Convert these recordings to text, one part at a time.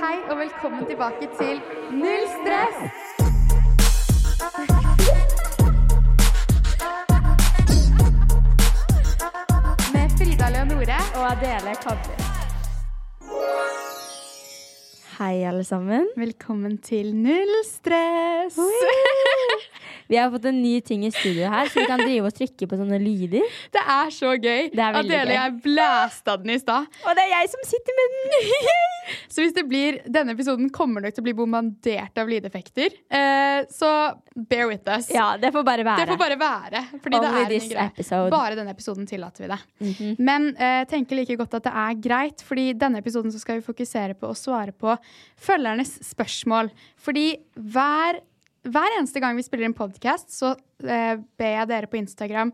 Hei og velkommen tilbake til Null stress! Med Frida Leonore. Og Adele Kobler. Hei, alle sammen. Velkommen til Null stress! Vi har fått en ny ting i studio her, så vi kan drive og trykke på sånne lyder. Det er så gøy. Det er veldig Adele og gøy. jeg blæsta den i stad. Og det er jeg som sitter med den! Så hvis det blir, denne episoden kommer nok til å bli bombardert av lydeffekter. Eh, så bear with us. ja, det får bare være. Det får bare være. Fordi Only det er this en greie. episode. Mhm. Bare denne episoden tillater vi det. Men eh, tenker like godt at det er greit, fordi denne episoden så skal vi fokusere på å svare på følgernes spørsmål. Fordi hver, hver eneste gang vi spiller en podkast, så eh, ber jeg dere på Instagram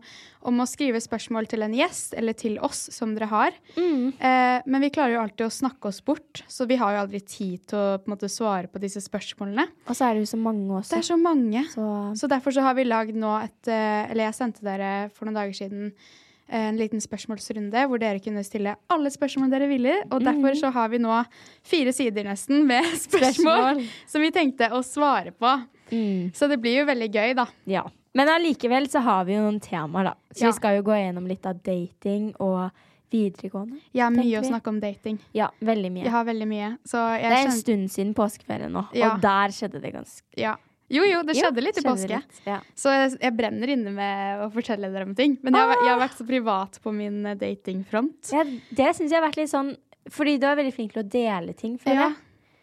om å skrive spørsmål til en gjest eller til oss som dere har. Mm. Eh, men vi klarer jo alltid å snakke oss bort, så vi har jo aldri tid til å på en måte, svare på disse spørsmålene. Og så er det jo så mange Det også. er så mange. Så Så derfor så har vi lagd nå et eh, Eller jeg sendte dere for noen dager siden eh, en liten spørsmålsrunde hvor dere kunne stille alle spørsmål dere ville. Og derfor Mhm. så har vi nå fire sider nesten med spørsmål, Spørsmål. som vi tenkte å svare på. mm, Så det blir jo veldig gøy, da. ja. Men allikevel så har vi jo noen temaer, da. Så Ja. vi skal jo gå gjennom litt av dating og videregående. Jeg har mye Tenker å vi. snakke om dating. Ja, veldig mye. Jeg har veldig mye. Så det jeg er en skjønte stund siden påskeferien nå, Ja. og der skjedde det ganske ja. Jo, jo, det Jo, skjedde litt i skjedde påske. litt, Ja. Så jeg, jeg brenner inne med å fortelle dere om ting. Men jeg har, væ- jeg har vært så privat på min eh, datingfront. Ja, det syns jeg har vært litt sånn Fordi du er veldig flink til å dele ting, føler Ja.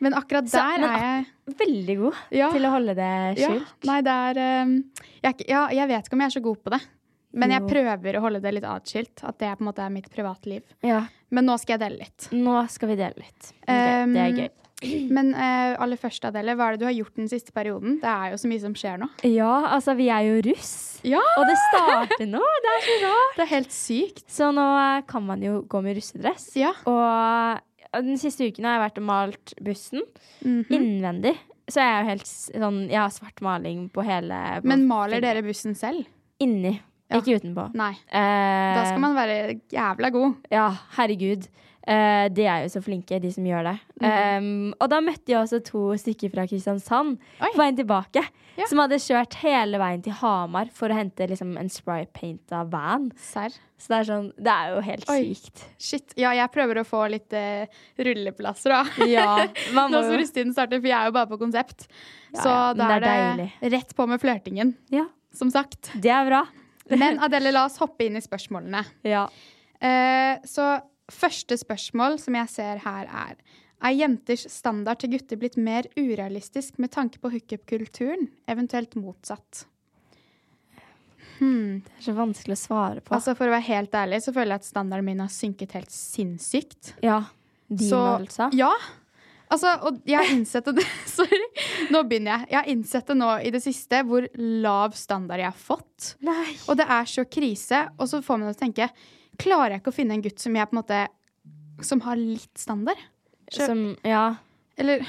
Men akkurat der Så- men er jeg jeg. Veldig god ja. til å holde det skjult. Ja, nei, det er um, jeg, er ikke- ja, jeg vet ikke om jeg er så god på det. Men jeg Jo. prøver å holde det litt atskilt. At det på en måte er mitt privatliv. Ja. Men nå skal jeg dele litt. Ehm, Nå skal vi dele litt. Ok, det er gøy. Men eh, aller først, Adele, hva er det du har gjort den siste perioden? Det er jo så mye som skjer nå. Ja, altså, vi er jo russ. Ja! Og det starter nå! Det er så rart. Det er helt sykt. Så nå eh, kan man jo gå med russedress. Ja. Og eh, den siste uken har jeg vært og malt bussen Mhm. innvendig. Så jeg er jo helt s- sånn Jeg har svart maling på hele på Men maler dere bussen selv? Inni. Ja. Ikke utenpå. Nei. Eh, Da skal man være jævla god. Ja, herregud. Eh, de er jo så flinke, de som gjør det. Mhm. Um, og da møtte jeg også to stykker fra Kristiansand Oi. på veien tilbake. Ja. Som hadde kjørt hele veien til Hamar for å hente liksom, en spraypainta van. Serr. Så det er, sånn, det er jo helt Oi. sykt. Shit. Ja, jeg prøver å få litt eh, rulleplasser, da. Ja, man Nå må som jo russetiden starter, for jeg er jo bare på konsept. Ja, Så ja, men da det er er det rett på med flørtingen, Ja, som sagt. det er bra. Men Adele, la oss hoppe inn i spørsmålene. Ja. Eh, så første spørsmål som jeg ser her, er Er jenters standard til gutter blitt mer urealistisk med tanke på hookup-kulturen, eventuelt motsatt? Hmm. Det er så vanskelig å svare på. Altså For å være helt ærlig så føler jeg at standarden min har synket helt sinnssykt. ja. Din, så- altså. Ja. Altså, og jeg har innsett det Sorry. Nå begynner jeg. Jeg har innsett det nå i det siste hvor lav standard jeg har fått. Nei. Og det er så krise. Og så får man det til å tenke Klarer jeg ikke å finne en gutt som jeg på en måte Som har litt standard? Skjø- Som, ja. Eller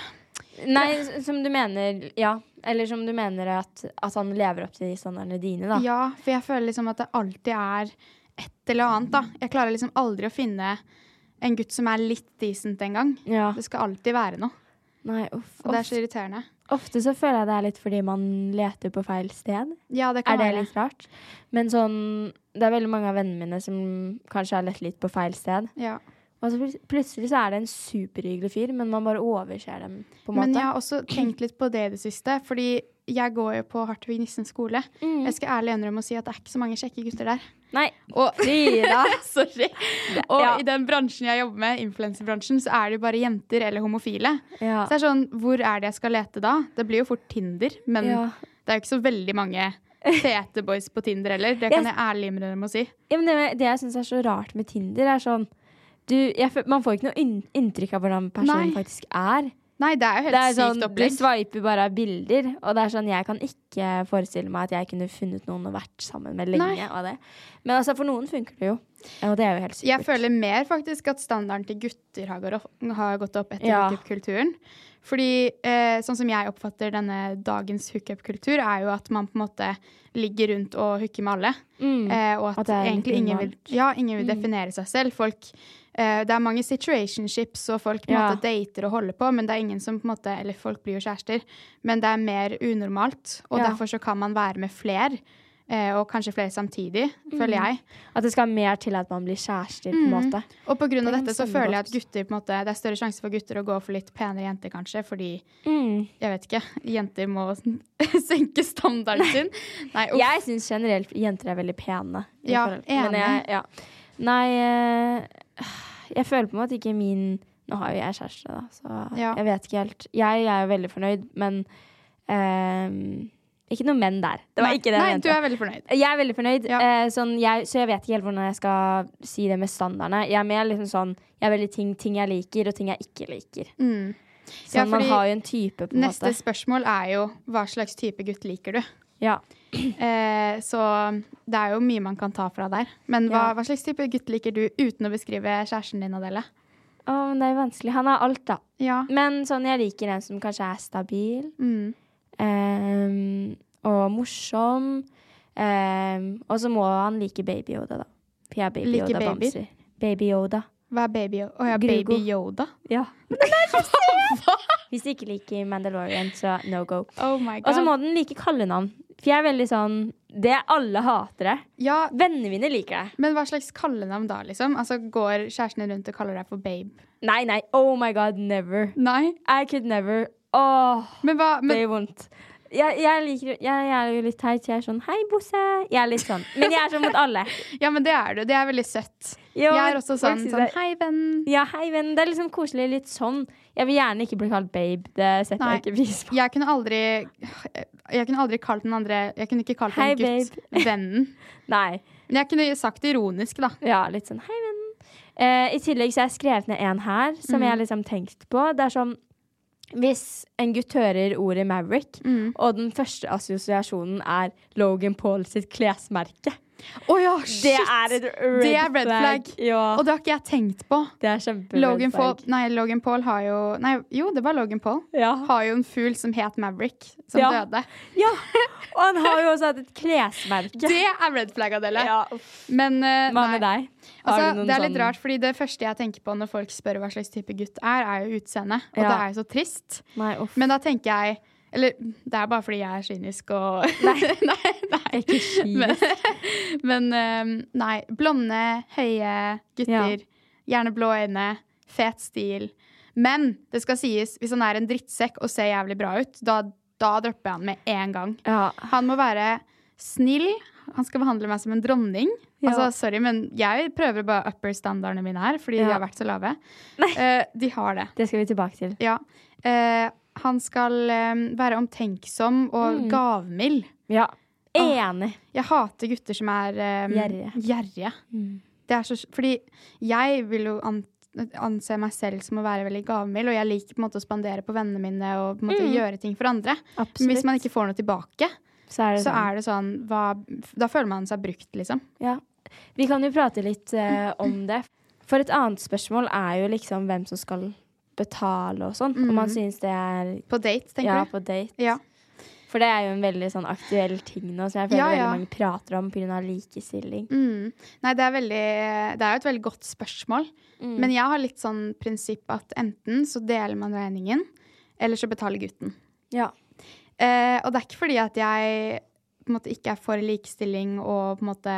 Nei, s- som du mener Ja. Eller som du mener at, at han lever opp til de standardene dine, da. Ja, for jeg føler liksom at det alltid er et eller annet, da. Jeg klarer liksom aldri å finne en gutt som er litt decent engang. Ja. Det skal alltid være noe. Nei, uff. Og det uff. er så irriterende. Ofte så føler jeg det er litt fordi man leter på feil sted. Ja, det Er kan det være. litt rart? Men sånn Det er veldig mange av vennene mine som kanskje har lett litt på feil sted. Ja. Og så plut- plutselig så er det en superhyggelig fyr, men man bare overser dem, på en måte. Men jeg har også tenkt litt på det i det siste, fordi jeg går jo på Hartvig Nissen skole. Mm. Jeg skal ærlig innrømme å si at det er ikke så mange kjekke gutter der. Nei, Og, Frida! sorry. og Ja. i den bransjen jeg jobber med, influenserbransjen, så er det jo bare jenter eller homofile. ja. Så det er sånn, hvor er det jeg skal lete da? Det blir jo fort Tinder, men Ja. det er jo ikke så veldig mange fete boys på Tinder heller. Det kan jeg ærlig innrømme å si. ja, men det, det jeg syns er så rart med Tinder, er sånn du, jeg, fø- Man får ikke noe inn- inntrykk av hvordan personen Nei. faktisk er. Nei, det er jo helt Det er sånn, sykt Du opplegg. sveiper bare av bilder, og det er sånn, jeg kan ikke forestille meg at jeg kunne funnet noen og vært sammen med lenge Nei. av det. Men altså, for noen funker det jo, og det er jo helt supert. Jeg føler mer faktisk at standarden til gutter har, gått opp- har gått opp etter Ja. hookup-kulturen. Fordi eh, sånn som jeg oppfatter denne dagens hookup-kultur, er jo at man på en måte ligger rundt og hooker med alle. Mm. Eh, og at, At det er egentlig litt ingen vil, normalt. ja, ingen vil Mm. definere seg selv. Folk, eh, det er mange situationships, og folk på en Ja. måte dater og holder på, men det er ingen som på en måte Eller folk blir jo kjærester, men det er mer unormalt. Og Ja. derfor så kan man være med fler, eh, og kanskje flere samtidig, føler Mm. jeg. At det skal mer til at man blir kjærester, på en Mm. måte. Og på grunn av Det sånn kan dette så stemme føler jeg at godt. gutter på en måte, det er større sjanse for gutter å gå for litt penere jenter, kanskje, fordi Mm. jeg vet ikke, jenter må senke standarden sin. Nei, uff. Jeg syns generelt jenter er veldig pene. i Ja, forhold. Men jeg, ja. Nei, eh, jeg føler på en måte ikke min Nå har jo jeg kjæreste, da, så Ja. jeg vet ikke helt. Jeg, jeg er jo veldig fornøyd, men eh, ikke noe menn der. Det var Nei, ikke det jeg Nei, mente. du er veldig fornøyd. Jeg er veldig fornøyd, Ja. eh, sånn, jeg, så jeg vet ikke helt hvordan jeg skal si det med standardene. Jeg er mer liksom sånn Jeg er veldig ting, ting jeg liker, og ting jeg ikke liker. Mm. Så Ja, man fordi har jo en type, på en Neste måte. spørsmål er jo hva slags type gutt liker du? Ja. Eh, så det er jo mye man kan ta fra der. Men hva, Ja. hva slags type gutt liker du uten å beskrive kjæresten din, Adele? Å, men det er vanskelig. Han har alt, da. Ja. Men sånn, jeg liker en som kanskje er stabil Mm. ehm, og morsom. ehm, og så må han like Baby Yoda, da. For jeg er Baby Like Yoda babyer? bamser. Baby Yoda. Hva er baby Yoda? Å ja, Grugo. baby Yoda. Ja. Hvis du ikke liker Mandalorian, så no go. Oh my Og så god. må den like kallenavn. For jeg er veldig sånn Det alle hater det. Ja, Vennene mine liker det. men hva slags kallenavn da, liksom? Altså, Går kjæresten din rundt og kaller deg for babe? Nei, nei. Oh my god, never. Nei. I could never. Åh, Men hva det men, gjør vondt. Jeg, jeg, liker, jeg, jeg er jo litt teit, så jeg er sånn Hei, Bosse. Jeg er litt sånn. Men jeg er sånn mot alle. Ja, men det er du. Det er veldig søtt. Jo, Jeg er også folk sånn, synes sånn det- Hei, venn. Ja, hei, venn. Det er liksom koselig. Litt sånn. Jeg vil gjerne ikke bli kalt babe. Det setter Nei. jeg ikke pris på. Jeg kunne aldri Jeg kunne aldri kalt den andre Jeg kunne ikke kalt Hei, en gutt vennen. Nei. Men jeg kunne sagt det ironisk, da. Ja, litt sånn hei, venn. Eh, I tillegg så har jeg skrevet ned en her som Mm. jeg har liksom tenkt på. Det er sånn Hvis en gutt hører ordet Maverick, Mm. og den første assosiasjonen er Logan Paul sitt klesmerke Å ja, Det er et red, Det er red flag. Ja, Og det har ikke jeg tenkt på. det er kjempe Logan red flag. Paul, nei, Logan Paul har jo Nei, jo, det var Logan Paul. Ja. Har jo en fugl som het Maverick, som Ja. døde. ja. Og han har jo også hatt et klesmerke. Det er red flag, Adele. Ja. Men eh, Hva med nei. deg? Har du Altså, noen det er litt sånn- rart, fordi det første jeg tenker på når folk spør hva slags type gutt er, er jo utseendet. Og Ja. det er jo så trist. Nei, uff. Men da tenker jeg Eller det er bare fordi jeg er kynisk og Nei, nei. nei. Ikke ski. Men, men eh, nei. Blonde, høye gutter. Gjerne blå øyne. Fet stil. Men det skal sies, hvis han er en drittsekk og ser jævlig bra ut, da, da dropper jeg han med en gang. Ja. Han må være snill. Han skal behandle meg som en dronning. Ja. Altså, sorry, men jeg prøver bare å upper standardene mine her, fordi de Ja. har vært så lave. Eh, de har det. Det skal vi tilbake til. Ja. Eh, han skal eh, være omtenksom og Mm. gavmild. Ja. Enig. Jeg hater gutter som er eh, Gjerrige. Mm. gjerrige. Det er så, fordi jeg vil jo an, anse meg selv som å være veldig gavmild, og jeg liker på en måte å spandere på vennene mine og på en måte gjøre ting for andre. Mm. Absolutt. Men hvis man ikke får noe tilbake, så er det så sånn. er det sånn hva, Da føler man seg brukt, liksom. Ja. Vi kan jo prate litt eh, om det. For et annet spørsmål er jo liksom hvem som skal betale og sånn. Om man syns det er På date, Mhm. tenker ja, du? på date. Ja. For det er jo en veldig sånn aktuell ting nå som jeg føler Ja, ja. veldig mange prater om pga. likestilling. Mm. Nei, det er, veldig, det er jo et veldig godt spørsmål. Mm. Men jeg har litt sånn prinsipp at enten så deler man regningen, eller så betaler gutten. Ja. Eh, og det er ikke fordi at jeg på en måte ikke er for likestilling og på en måte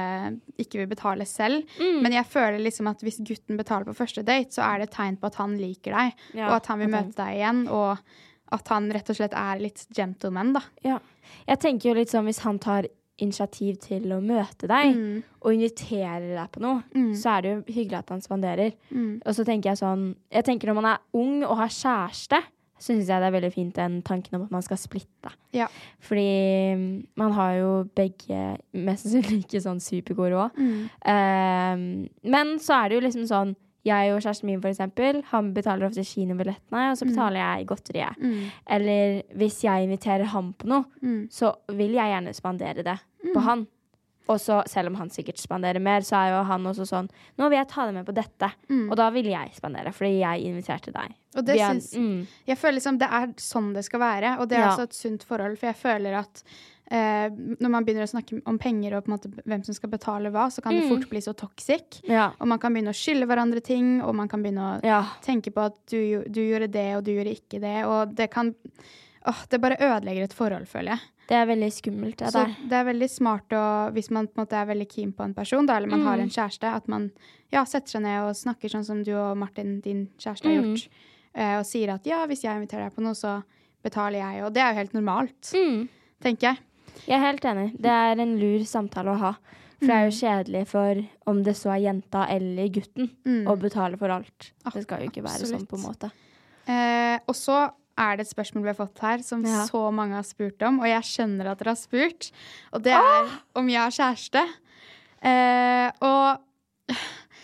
ikke vil betale selv, Mm. men jeg føler liksom at hvis gutten betaler på første date, så er det et tegn på at han liker deg, Ja, og at han vil ok. møte deg igjen, og at han rett og slett er litt gentleman, da. Ja. Jeg tenker jo litt sånn hvis han tar initiativ til å møte deg Mm. og inviterer deg på noe, så er det jo hyggelig at han spanderer. Mm. Og så tenker jeg sånn Jeg tenker når man er ung og har kjæreste, så syns jeg det er veldig fint den tanken om at man skal splitte. Ja. Fordi mm, man har jo begge mest sannsynlig ikke sånn supergod råd. Ehm, men så er det jo liksom sånn jeg og kjæresten min, for eksempel, han betaler ofte kinobillettene, og så betaler jeg godteriet. Eller hvis jeg inviterer ham på noe, Mm. så vil jeg gjerne spandere det på han. Og så, selv om han sikkert spanderer mer, så er jo han også sånn Nå vil jeg ta deg med på dette. Og da vil jeg spandere, fordi jeg inviterte deg. Og Mm. det Vi er- syns- mm, Jeg føler liksom det er sånn det skal være, og det er Ja. også et sunt forhold, for jeg føler at eh, når man begynner å snakke om penger og på en måte hvem som skal betale hva, så kan det Mm. fort bli så toxic. ja. Og man kan begynne å skylde hverandre ting, og man kan begynne å ja. tenke på at du, gjo- du gjorde det, og du gjorde ikke det, og det kan Åh, det bare ødelegger et forhold, føler jeg. Det er veldig skummelt, det så der. det er veldig smart å, hvis man på en måte er veldig keen på en person, da, eller man Mm. har en kjæreste, at man ja, setter seg ned og snakker sånn som du og Martin, din kjæreste, har Mm. gjort. eh, Og sier at ja, hvis jeg inviterer deg på noe, så betaler jeg. Og det er jo helt normalt, Mm. tenker jeg. Jeg er helt enig. Det er en lur samtale å ha. For det er jo kjedelig for om det så er jenta eller gutten Mm. å betale for alt. Ab- Det skal jo ikke være sånn, på en måte. Eh, og så er det et spørsmål vi har fått her, som Ja. så mange har spurt om. Og jeg skjønner at dere har spurt. Og det er Ah! om jeg har kjæreste. Eh, og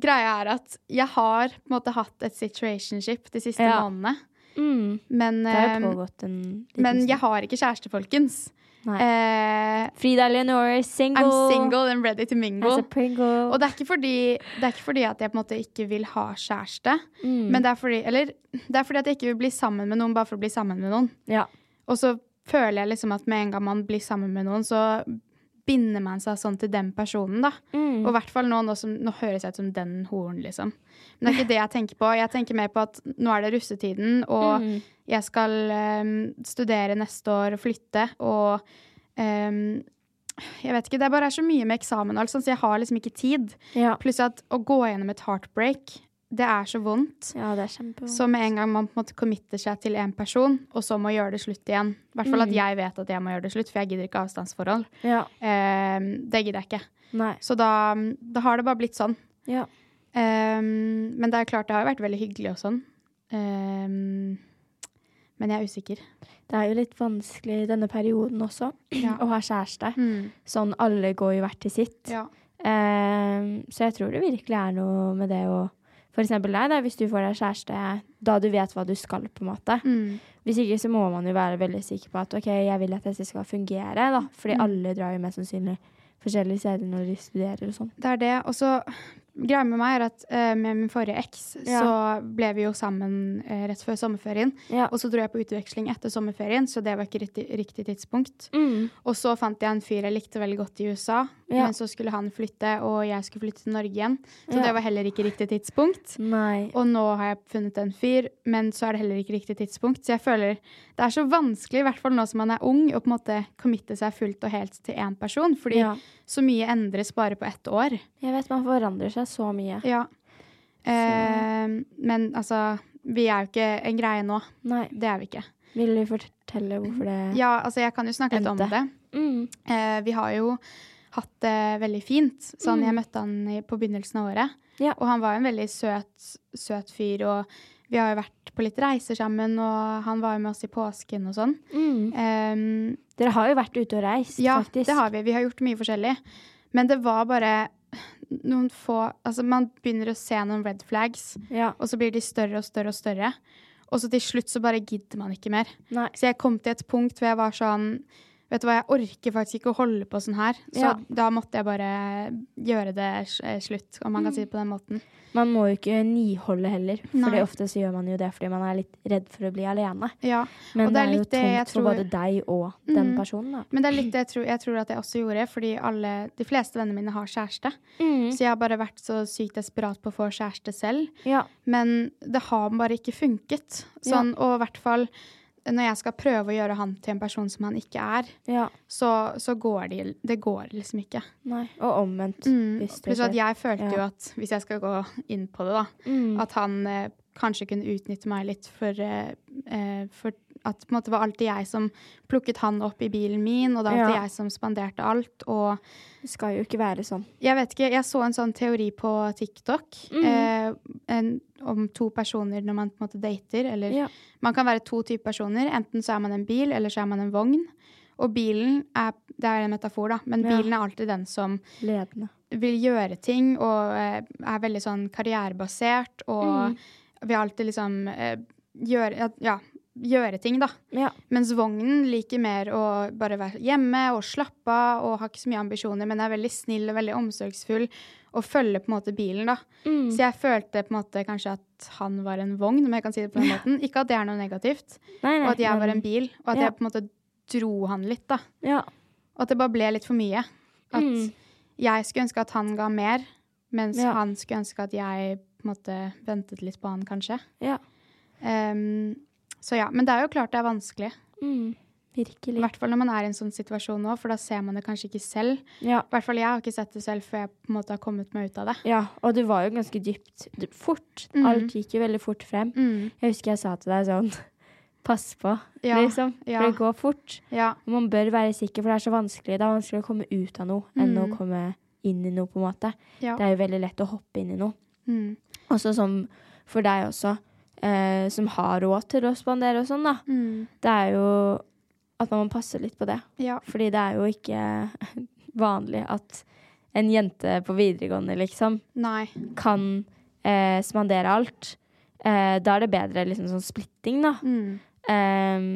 greia er at jeg har på en måte hatt et situationship de siste Ja. månedene. Mm. Men, Det har jo eh, pågått en liten men jeg har ikke kjæreste, folkens. Nei. Eh, Frida Leonore is single. I'm single and ready to mingle. As a Pringle. Og det er, ikke fordi, det er ikke fordi at jeg på en måte ikke vil ha kjæreste. Mm. Men det er, fordi, eller, det er fordi at jeg ikke vil bli sammen med noen bare for å bli sammen med noen. ja. Og så føler jeg liksom at med en gang man blir sammen med noen, så binder man seg sånn til den personen, da. Mm. Og i hvert fall nå, nå, som, nå høres jeg ut som den horen, liksom. Men det er ikke det jeg tenker på. Jeg tenker mer på at nå er det russetiden, Mm. og jeg skal ehm, studere neste år og flytte, og ehm, jeg vet ikke, Det er bare er så mye med eksamen, og alt sånt, så jeg har liksom ikke tid. ja. Pluss at å gå gjennom et heartbreak, det er så vondt. Ja, det er kjempevondt. Så med en gang man på en måte committer seg til en person, og så må gjøre det slutt igjen. I hvert fall at jeg vet at jeg må gjøre det slutt, for jeg gidder ikke avstandsforhold. Ja. Eh, det gidder jeg ikke. Nei. Så da, da har det bare blitt sånn. Ja. Eh, men det er klart, det har jo vært veldig hyggelig og sånn. Eh, men jeg er usikker. Det er jo litt vanskelig i denne perioden også Ja. å ha kjæreste. Mm. Sånn alle går jo hvert til sitt. Ehm, så jeg tror det virkelig er noe med det å For eksempel deg, da, hvis du får deg kjæreste da du vet hva du skal, på en måte. Mm. Hvis ikke så må man jo være veldig sikker på at OK, jeg vil at dette skal fungere, da. Mm. Fordi alle drar jo mest sannsynlig forskjellige steder når de studerer og sånn. Det er det. Og så greia med meg er at eh, med min forrige eks Ja. så ble vi jo sammen eh, rett før sommerferien. Ja. Og så dro jeg på utveksling etter sommerferien, så det var ikke riktig, riktig tidspunkt. Mm. Og så fant jeg en fyr jeg likte veldig godt i USA, Ja. men så skulle han flytte, og jeg skulle flytte til Norge igjen. Så Ja. det var heller ikke riktig tidspunkt. Nei. Og nå har jeg funnet en fyr, men så er det heller ikke riktig tidspunkt. Så jeg føler det er så vanskelig, i hvert fall nå som man er ung, å på en måte committe seg fullt og helt til én person. Fordi Ja. så mye endres bare på ett år. Jeg vet man forandrer seg så mye. Ja. Eh, men altså, vi er jo ikke en greie nå. Nei. Det er vi ikke. Vil du fortelle hvorfor det Ja, altså jeg kan jo snakke litt om Endte. det. Mm. Eh, vi har jo hatt det veldig fint. Sånn, Jeg møtte han i, på begynnelsen av året. Mm. Ja. Og han var jo en veldig søt, søt fyr. Og vi har jo vært på litt reiser sammen, og han var jo med oss i påsken og sånn. Mm. Eh, Dere har jo vært ute og reist, ja, faktisk. det har vi. Vi har gjort mye forskjellig. Men det var bare noen få Altså, man begynner å se noen red flags, Ja. og så blir de større og større og større. Og så til slutt så bare gidder man ikke mer. Nei. Så jeg kom til et punkt hvor jeg var sånn Vet du hva, jeg orker faktisk ikke å holde på sånn her. Så Ja. da måtte jeg bare gjøre det s- eh, slutt, om man kan si det på den måten. Man må jo ikke niholde heller, Nei. for ofte så gjør man jo det fordi man er litt redd for å bli alene. Ja. Men Og det er, jo litt det jeg tungt for tror- Mm. både deg og den personen, da. Men det er litt det jeg tror, jeg tror at jeg også gjorde, fordi alle, de fleste vennene mine har kjæreste. Mm. Så jeg har bare vært så sykt desperat på å få kjæreste selv. Ja. Men det har bare ikke funket. Sånn, Og i hvert fall når jeg skal prøve å gjøre han til en person som han ikke er, Ja. så, så går det, det går liksom ikke. Nei. Og omvendt. Mm. hvis det Pluss at skjer. jeg følte jo Ja. at hvis jeg skal gå inn på det, da, Mm. at han eh, kanskje kunne utnytte meg litt for, eh, eh, for at på en måte var alltid jeg som plukket han opp i bilen min, og det var alltid Ja. jeg som spanderte alt. Og Det skal jo ikke være sånn. Jeg vet ikke, jeg så en sånn teori på TikTok Mhm. eh, en, om to personer når man på en måte dater. Eller Ja. man kan være to typer personer. Enten så er man en bil, eller så er man en vogn. Og bilen er Det er en metafor, da, men Ja. bilen er alltid den som Ledende. vil gjøre ting og eh, er veldig sånn karrierebasert og Mhm. vil alltid liksom eh, gjøre Ja, gjøre ting, da. Ja. Mens vognen liker mer å bare være hjemme og slappe av og har ikke så mye ambisjoner, men er veldig snill og veldig omsorgsfull og følger på en måte bilen, da. Mm. Så jeg følte på en måte kanskje at han var en vogn, om jeg kan si det på den måten. Ikke at det er noe negativt, Nei, nei, og at jeg var men- en bil, og at Ja. jeg på en måte dro han litt, da. Ja. Og at det bare ble litt for mye. At Mm. jeg skulle ønske at han ga mer, mens Ja. han skulle ønske at jeg på en måte ventet litt på han, kanskje. Ja. Ehm, så ja. Men det er jo klart det er vanskelig. Mm. I Virkelig. hvert fall når man er i en sånn situasjon nå, for da ser man det kanskje ikke selv. Ja. I hvert fall jeg har ikke sett det selv før jeg på en måte har kommet meg ut av det. ja. Og det var jo ganske dypt. Det- Fort. Mm. Alt gikk jo veldig fort frem. Mm. Jeg husker jeg sa til deg sånn Pass på, Ja, liksom. ja. For det går fort. Ja, Og man bør være sikker, for det er så vanskelig. Det er vanskelig å komme ut av noe enn å Mm. komme inn i noe, på en måte. ja. Det er jo veldig lett å hoppe inn i noe. Mm. Også som for deg også, eh, som har råd til å spandere og sånn, da. Mm. Det er jo at man må passe litt på det. ja. Fordi det er jo ikke vanlig at en jente på videregående, liksom, Nei. kan eh, spandere alt. Eh, da er det bedre liksom sånn splitting, da. Mm. Ehm,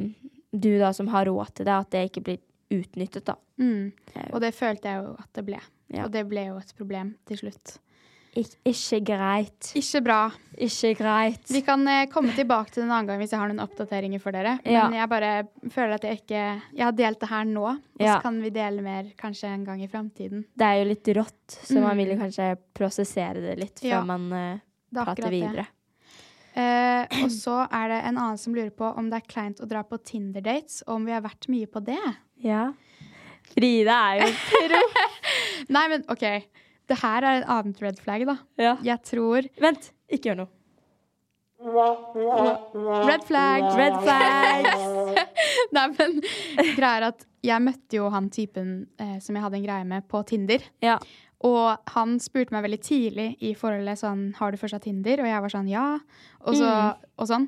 du da som har råd til det, at det ikke blir utnyttet, da. Mm. Det er jo Og det følte jeg jo at det ble. Ja. Og det ble jo et problem til slutt. Ik ikke greit. Ikke bra. Ikke greit. Vi kan eh, komme tilbake til det en annen gang hvis jeg har noen oppdateringer for dere. Men Ja. jeg bare føler at jeg ikke Jeg har delt det her nå, og så Ja. kan vi dele mer kanskje en gang i framtiden. Det er jo litt rått, så man Mm. vil jo kanskje prosessere det litt før Ja. man eh, Det er prater akkurat det. videre. Eh, og så er det en annen som lurer på om det er kleint å dra på Tinder-dates, og om vi har vært mye på det. Ja. Frida er jo Nei, men OK. Det her er et annet red flag, da. ja. Jeg tror Vent, ikke gjør noe. Red flag! Red flags! Nei, men greia er at jeg møtte jo han typen eh, som jeg hadde en greie med, på Tinder. ja. Og han spurte meg veldig tidlig i forholdet sånn Har du fortsatt Tinder? Og jeg var sånn ja. Og så, og sånn.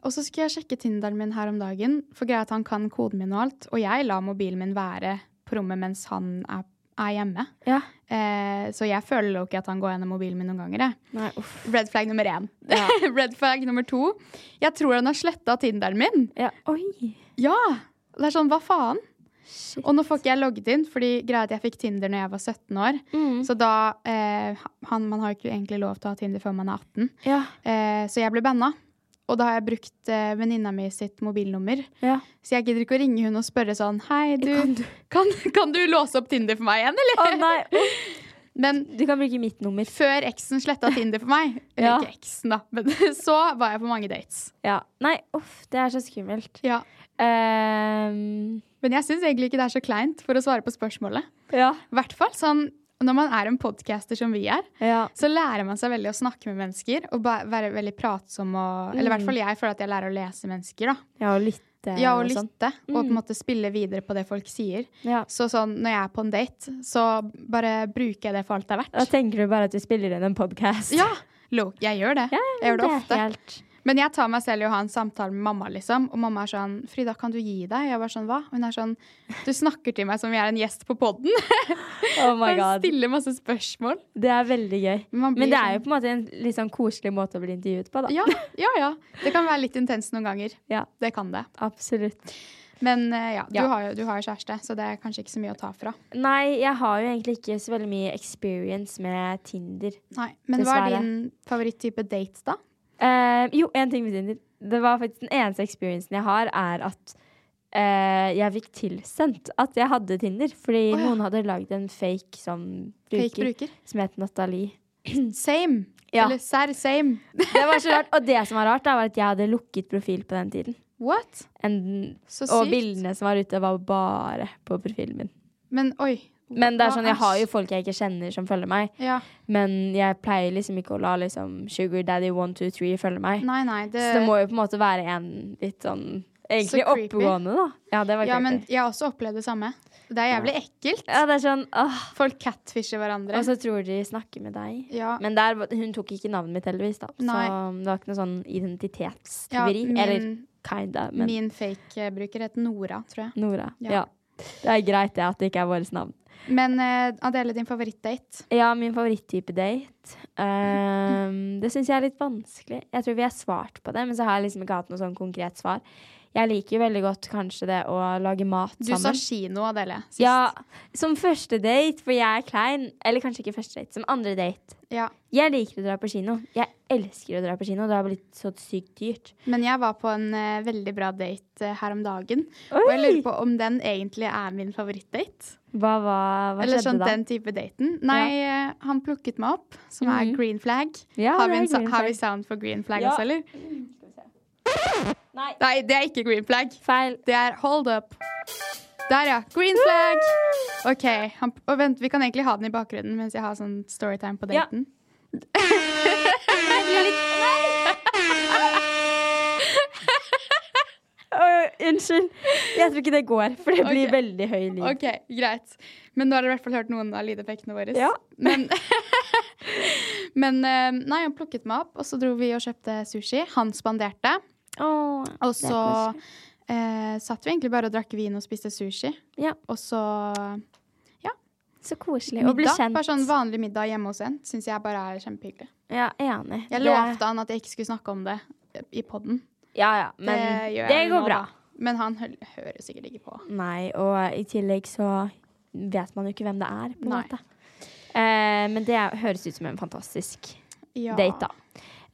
Og så skulle jeg sjekke Tinderen min her om dagen, for greia er at han kan koden min og alt. Og jeg lar mobilen min være på rommet mens han er, er hjemme. ja. Eh, så jeg føler jo ikke at han går gjennom mobilen min noen ganger. Jeg. Nei, uff. Red flag nummer én. Ja. Red flag nummer to. Jeg tror han har sletta Tinderen min. ja. Oi. Ja! Det er sånn, hva faen? Shit. Og nå får ikke jeg logget inn, fordi greia er at jeg fikk Tinder når jeg var 17 år. Mm. Så da eh, han, Man har jo ikke egentlig lov til å ha Tinder før man er 18. Ja. Eh, så jeg ble banna. Og da har jeg brukt eh, venninna mi sitt mobilnummer. ja. Så jeg gidder ikke å ringe hun og spørre sånn Hei, du, Kan du kan, kan du låse opp Tinder for meg igjen, eller? Å nei, uff. Men du kan bruke mitt nummer. før eksen sletta Tinder for meg, eller Ja. ikke eksen, da, men så var jeg på mange dates. Ja. Nei, uff, det er så skummelt. Ja. Ehm, Men jeg syns egentlig ikke det er så kleint, for å svare på spørsmålet. ja. I hvert fall sånn når man er en podcaster som vi er, Ja. så lærer man seg veldig å snakke med mennesker. Og ba- være veldig pratsom og Eller i Mm. hvert fall jeg føler at jeg lærer å lese mennesker, da. Ja, og lytte Ja, og og sånn. lytte. Og på en måte spille videre på det folk sier. Ja. Så sånn når jeg er på en date, så bare bruker jeg det for alt det er Da verdt. tenker du bare at du spiller inn en podkast. Ja! Lo, jeg gjør det. jeg gjør det ofte. Helt. Men jeg tar meg selv i å ha en samtale med mamma, liksom. Og mamma er sånn 'Frida, kan du gi deg?' Jeg var sånn 'Hva?' Hun er sånn 'Du snakker til meg som jeg er en gjest på poden'. Oh my Hun god. stiller masse spørsmål. Det er veldig gøy. Men man blir Men det er jo sånn- på en måte en litt sånn koselig måte å bli intervjuet på, da. Ja, ja, ja. Det kan være litt intenst noen ganger. Ja. Det kan det. Absolutt. Men eh, ja, du, Ja. Har jo, du har jo kjæreste, så det er kanskje ikke så mye å ta fra. Nei, jeg har jo egentlig ikke så veldig mye experience med Tinder. Nei, Men hva er Dessverre. din favoritttype date, da? Eh, jo, én ting med Tinder. Det var faktisk Den eneste experiencen jeg har, er at eh, jeg fikk tilsendt at jeg hadde Tinder. Fordi Å, ja. noen hadde lagd en fake sånn bruker, Fake bruker? som het Nathalie. Same. Ja. Eller serr same. Det var så rart. Og det som var rart, da, var at jeg hadde lukket profil på den tiden. What? En, Så sykt. og bildene som var ute, var bare på profilen min. Men oi. Men det er hva sånn, jeg har jo s- folk jeg ikke kjenner som følger meg, Ja. men jeg pleier liksom ikke å la liksom Sugar Daddy 123 følge meg. Nei, nei, det Så det må jo på en måte være en litt sånn Egentlig Så creepy. oppegående, da. Ja, det var Ja, men creepy. jeg har også opplevd det samme. Det er jævlig ekkelt. Ja, det er sånn åh. Folk catfisher hverandre. Og så tror de snakker med deg. ja. Men der, var- hun tok ikke navnet mitt, heldigvis. da Så Nei. det var ikke noe sånn ja, identitetstyveri. min, Eller kinda, men min fake-bruker het Nora, tror jeg. Nora. Ja. Ja. Det er greit det at det ikke er vårt navn. Men eh, Adele, din favorittdate? Ja, min favoritttype date. Ehm, det syns jeg er litt vanskelig. Jeg tror vi har svart på det, men så har jeg liksom ikke hatt noe sånn konkret svar. Jeg liker jo veldig godt kanskje det å lage mat Du sa sammen. kino, Adele. Sist. Ja, som første date, for jeg er klein. Eller kanskje ikke første date, som andre date. Ja. Jeg liker å dra på kino. Jeg elsker å dra på kino. Det har blitt så sykt dyrt. Men jeg var på en eh, veldig bra date eh, her om dagen. Oi! Og jeg lurer på om den egentlig er min favorittdate. Hva, hva, hva Eller skjedde sånn da? den type daten. Nei, eh, han plukket meg opp, som er Mhm. green flag. Ja, har, vi det er en, sa- green har flag. vi sound for green flag Ja. Mm, også, eller? Nei, Nei, det er ikke green flag. feil. Det er hold up. Der, ja. Green flag. OK. Han, og vent, vi kan egentlig ha den i bakgrunnen mens jeg har sånn storytime på Ja. daten. Åh, unnskyld. Jeg tror ikke det går, for det blir Ok. veldig høy lyd. OK, greit. Men nå har dere i hvert fall hørt noen av lydeffektene våre. Ja. Men, men eh, nei, han plukket meg opp, og så dro vi og kjøpte sushi. Han spanderte. Åh, Og det er så koselig. eh, satt vi egentlig bare og drakk vin og spiste sushi. Ja. Og så Så koselig å bli middag. kjent. Bare sånn vanlig middag hjemme hos en. Syns jeg bare er kjempehyggelig. Ja, enig. Jeg Det- lovte han at jeg ikke skulle snakke om det i poden. Ja, ja, men det, går bra. Men han hø hører sikkert ikke på. Nei, og i tillegg så vet man jo ikke hvem det er, på en Nei. måte. Eh, men det er- høres ut som en fantastisk Ja, date, da.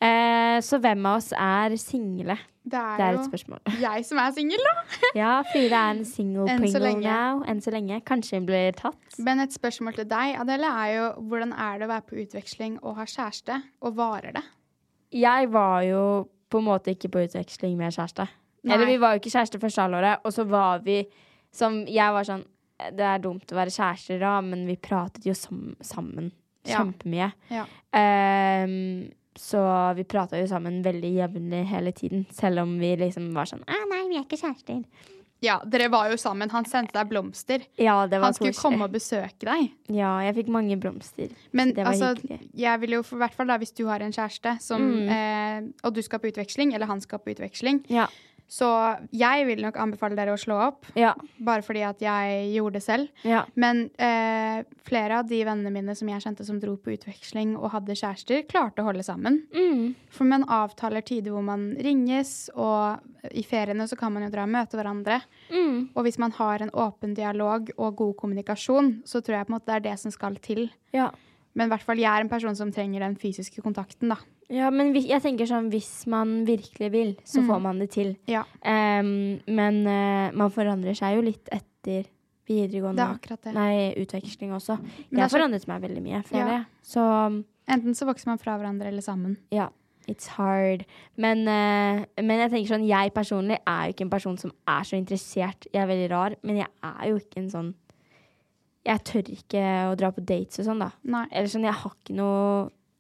Eh, så hvem av oss er single? Det er, Det er et jo spørsmål. jeg som er singel, da. Ja, Frida er en single Enn så pringle lenge. now. Enn så lenge. Kanskje hun blir tatt. Men et spørsmål til deg, Adele, er jo hvordan er det å være på utveksling og ha kjæreste, og varer det? Jeg var jo på en måte ikke på utveksling med kjæreste. Nei. Eller vi var jo ikke kjæreste første halvåret, og så var vi som Jeg var sånn Det er dumt å være kjærester da, men vi pratet jo sam sammen Ja. kjempemye. Ja. Ehm, så vi prata jo sammen veldig jevnlig hele tiden, selv om vi liksom var sånn ah, Nei, vi er ikke kjærester. Ja, dere var jo sammen. Han sendte deg blomster. Ja, det var Han skulle koselig. komme og besøke deg. Ja, jeg fikk mange blomster. Men det var altså, hyggelig. Mm. jeg vil jo for hvert fall da, hvis du har en kjæreste, som, eh, og du skal på utveksling, eller han skal på utveksling, Ja. så jeg vil nok anbefale dere å slå opp, Ja. bare fordi at jeg gjorde det selv. ja. Men eh, flere av de vennene mine som jeg kjente som dro på utveksling og hadde kjærester, klarte å holde sammen. Mm. For man avtaler tider hvor man ringes, og i feriene så kan man jo dra og møte hverandre. Mm. Og hvis man har en åpen dialog og god kommunikasjon, så tror jeg på en måte det er det som skal til. ja. Men i hvert fall jeg er en person som trenger den fysiske kontakten, da. Ja, men vi, jeg tenker sånn Hvis man virkelig vil, så får man det til. Mm. Ja, Ehm, men eh, man forandrer seg jo litt etter det videregående. er akkurat det. Mm. Nei, utveksling også. Men Jeg det er har så- forandret meg veldig mye, føler Ja. jeg. Så Enten så vokser man fra hverandre eller sammen. ja, it's hard. Men, eh, men jeg tenker sånn, jeg personlig er jo ikke en person som er så interessert. Jeg er veldig rar, men jeg er jo ikke en sånn Jeg tør ikke å dra på dates og sånn, da. Nei. Eller sånn, jeg har ikke noe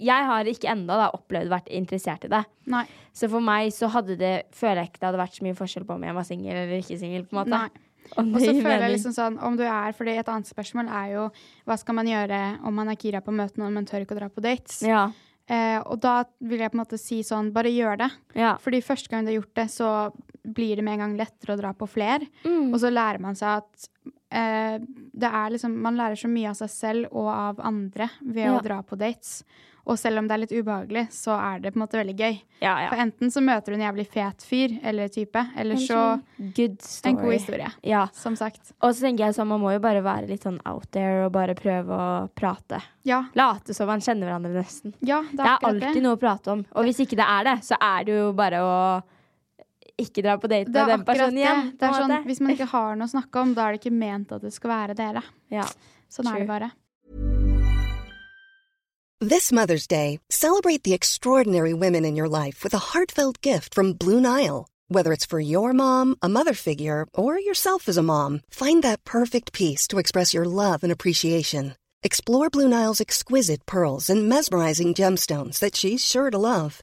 Jeg har ikke enda da opplevd vært interessert i det. Nei. Så for meg så hadde det føler jeg ikke det hadde vært så mye forskjell på om jeg var singel eller ikke singel. på en måte. Nei. Om Og det så gir føler jeg mening. liksom sånn om du er, fordi Et annet spørsmål er jo hva skal man gjøre om man er gira på møtene, men tør ikke å dra på dates. ja, Eh, og da vil jeg på en måte si sånn, bare gjør det. ja. Fordi første gang du har gjort det, så blir det med en gang lettere å dra på fler. Mm. Og så lærer man seg at eh, det er liksom Man lærer så mye av seg selv og av andre ved Ja. å dra på dates. Og selv om det er litt ubehagelig, så er det på en måte veldig gøy. ja, ja. For enten så møter du en jævlig fet fyr eller type, eller så Good story. en god historie. Ja. Som sagt. Og så tenker jeg sånn, man må jo bare være litt sånn out there og bare prøve å prate. Ja, Late som man kjenner hverandre, nesten. ja det Det er er akkurat alltid det. noe å prate om. Og hvis ikke det er det, så er det jo bare å ikke dra på date Det med er den akkurat personen det. igjen. det på er en sånn, måte. hvis man ikke har noe å snakke om, da er det ikke ment at det skal være dere. Ja. Sånn er True. det bare. This Mother's Day, celebrate the extraordinary women in your life with a heartfelt gift from Blue Nile. Whether it's for your mom, a mother figure, or yourself as a mom, find that perfect piece to express your love and appreciation. Explore Blue Nile's exquisite pearls and mesmerizing gemstones that she's sure to love.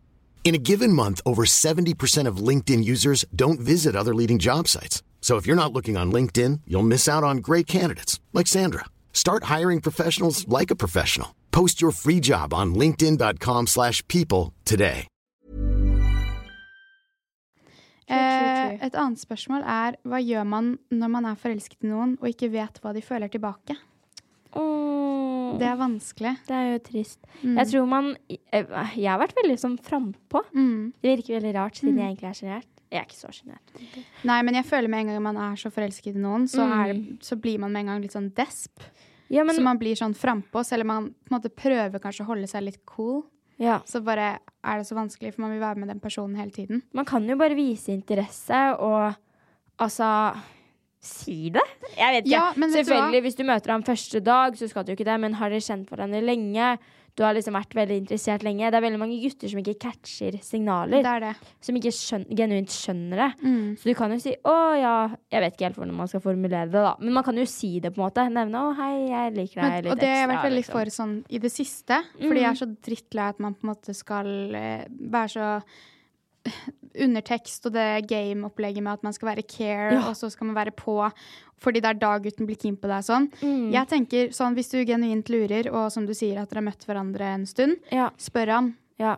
In a given month, over 70% of LinkedIn users don't visit other leading job sites. So if you're not looking on LinkedIn, you'll miss out on great candidates like Sandra. Start hiring professionals like a professional. Post your free job on linkedin.com/people slash people today. Eh, et annet spørsmål er hva gjør man når man er forelsket i noen og ikke vet hva de føler tilbake? Åh, Det er vanskelig. det er jo trist. Jeg tror man Jeg jeg har vært veldig sånn frampå. Mm. Det virker veldig rart, siden jeg egentlig er sjenert. Jeg er ikke så sjenert. Nei, men jeg føler med en gang man er så forelsket i noen, så, er det, så blir man med en gang litt sånn desp. så Ja, men man blir sånn frampå, selv om man på en måte prøver kanskje å holde seg litt cool. ja. Så bare er det så vanskelig, for man vil være med den personen hele tiden. Man kan jo bare vise interesse og altså Si det? Jeg vet ikke. Ja, men vet du Selvfølgelig, hva? Hvis du møter ham første dag, så skal du jo ikke det, men har dere kjent hverandre lenge? Du har liksom vært veldig interessert lenge. Det er veldig mange gutter som ikke catcher signaler. Det er det. Som ikke skjøn genuint skjønner det. Mm. Så du kan jo si 'Å ja Jeg vet ikke helt hvordan man skal formulere det, da. Men man kan jo si det, på en måte. Nevne 'Å hei, jeg liker deg Men, litt og det har jeg ekstra, vært veldig liksom. Mhm. for sånn i det siste. Fordi jeg er så drittlei at man på en måte skal eh, være så undertekst og det game-opplegget med at man skal være care, Ja. og så skal man være på fordi det er da gutten blir keen på deg. og Sånn. Mm. Jeg tenker sånn, Hvis du genuint lurer, og som du sier at dere har møtt hverandre en stund, Ja, spør han ja.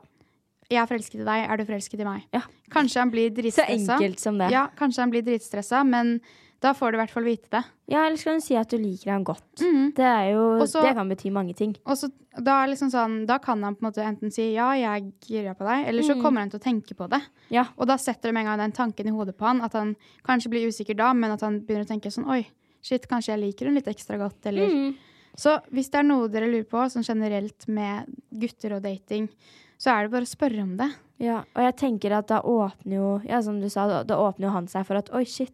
jeg er forelsket i deg, er du forelsket i meg? Ja. Kanskje han blir Så dritstressa. enkelt som det. Ja, kanskje han blir dritstressa, men da får du i hvert fall vite det. Ja, eller så kan du si at du liker ham godt. Det, er jo, Mm. Og så- det kan bety mange ting. Og så, da, er liksom sånn, da kan han på en måte enten si ja, jeg girer på deg, Mm. eller så kommer han til å tenke på det. Ja. Og da setter det med en gang den tanken i hodet på han, at han kanskje blir usikker da, men at han begynner å tenke sånn oi, shit, kanskje jeg liker hun litt ekstra godt, eller Mm. Så hvis det er noe dere lurer på, sånn generelt med gutter og dating, så er det bare å spørre om det. Ja, og jeg tenker at da åpner jo Ja, som du sa, da, da åpner jo han seg for at oi, shit.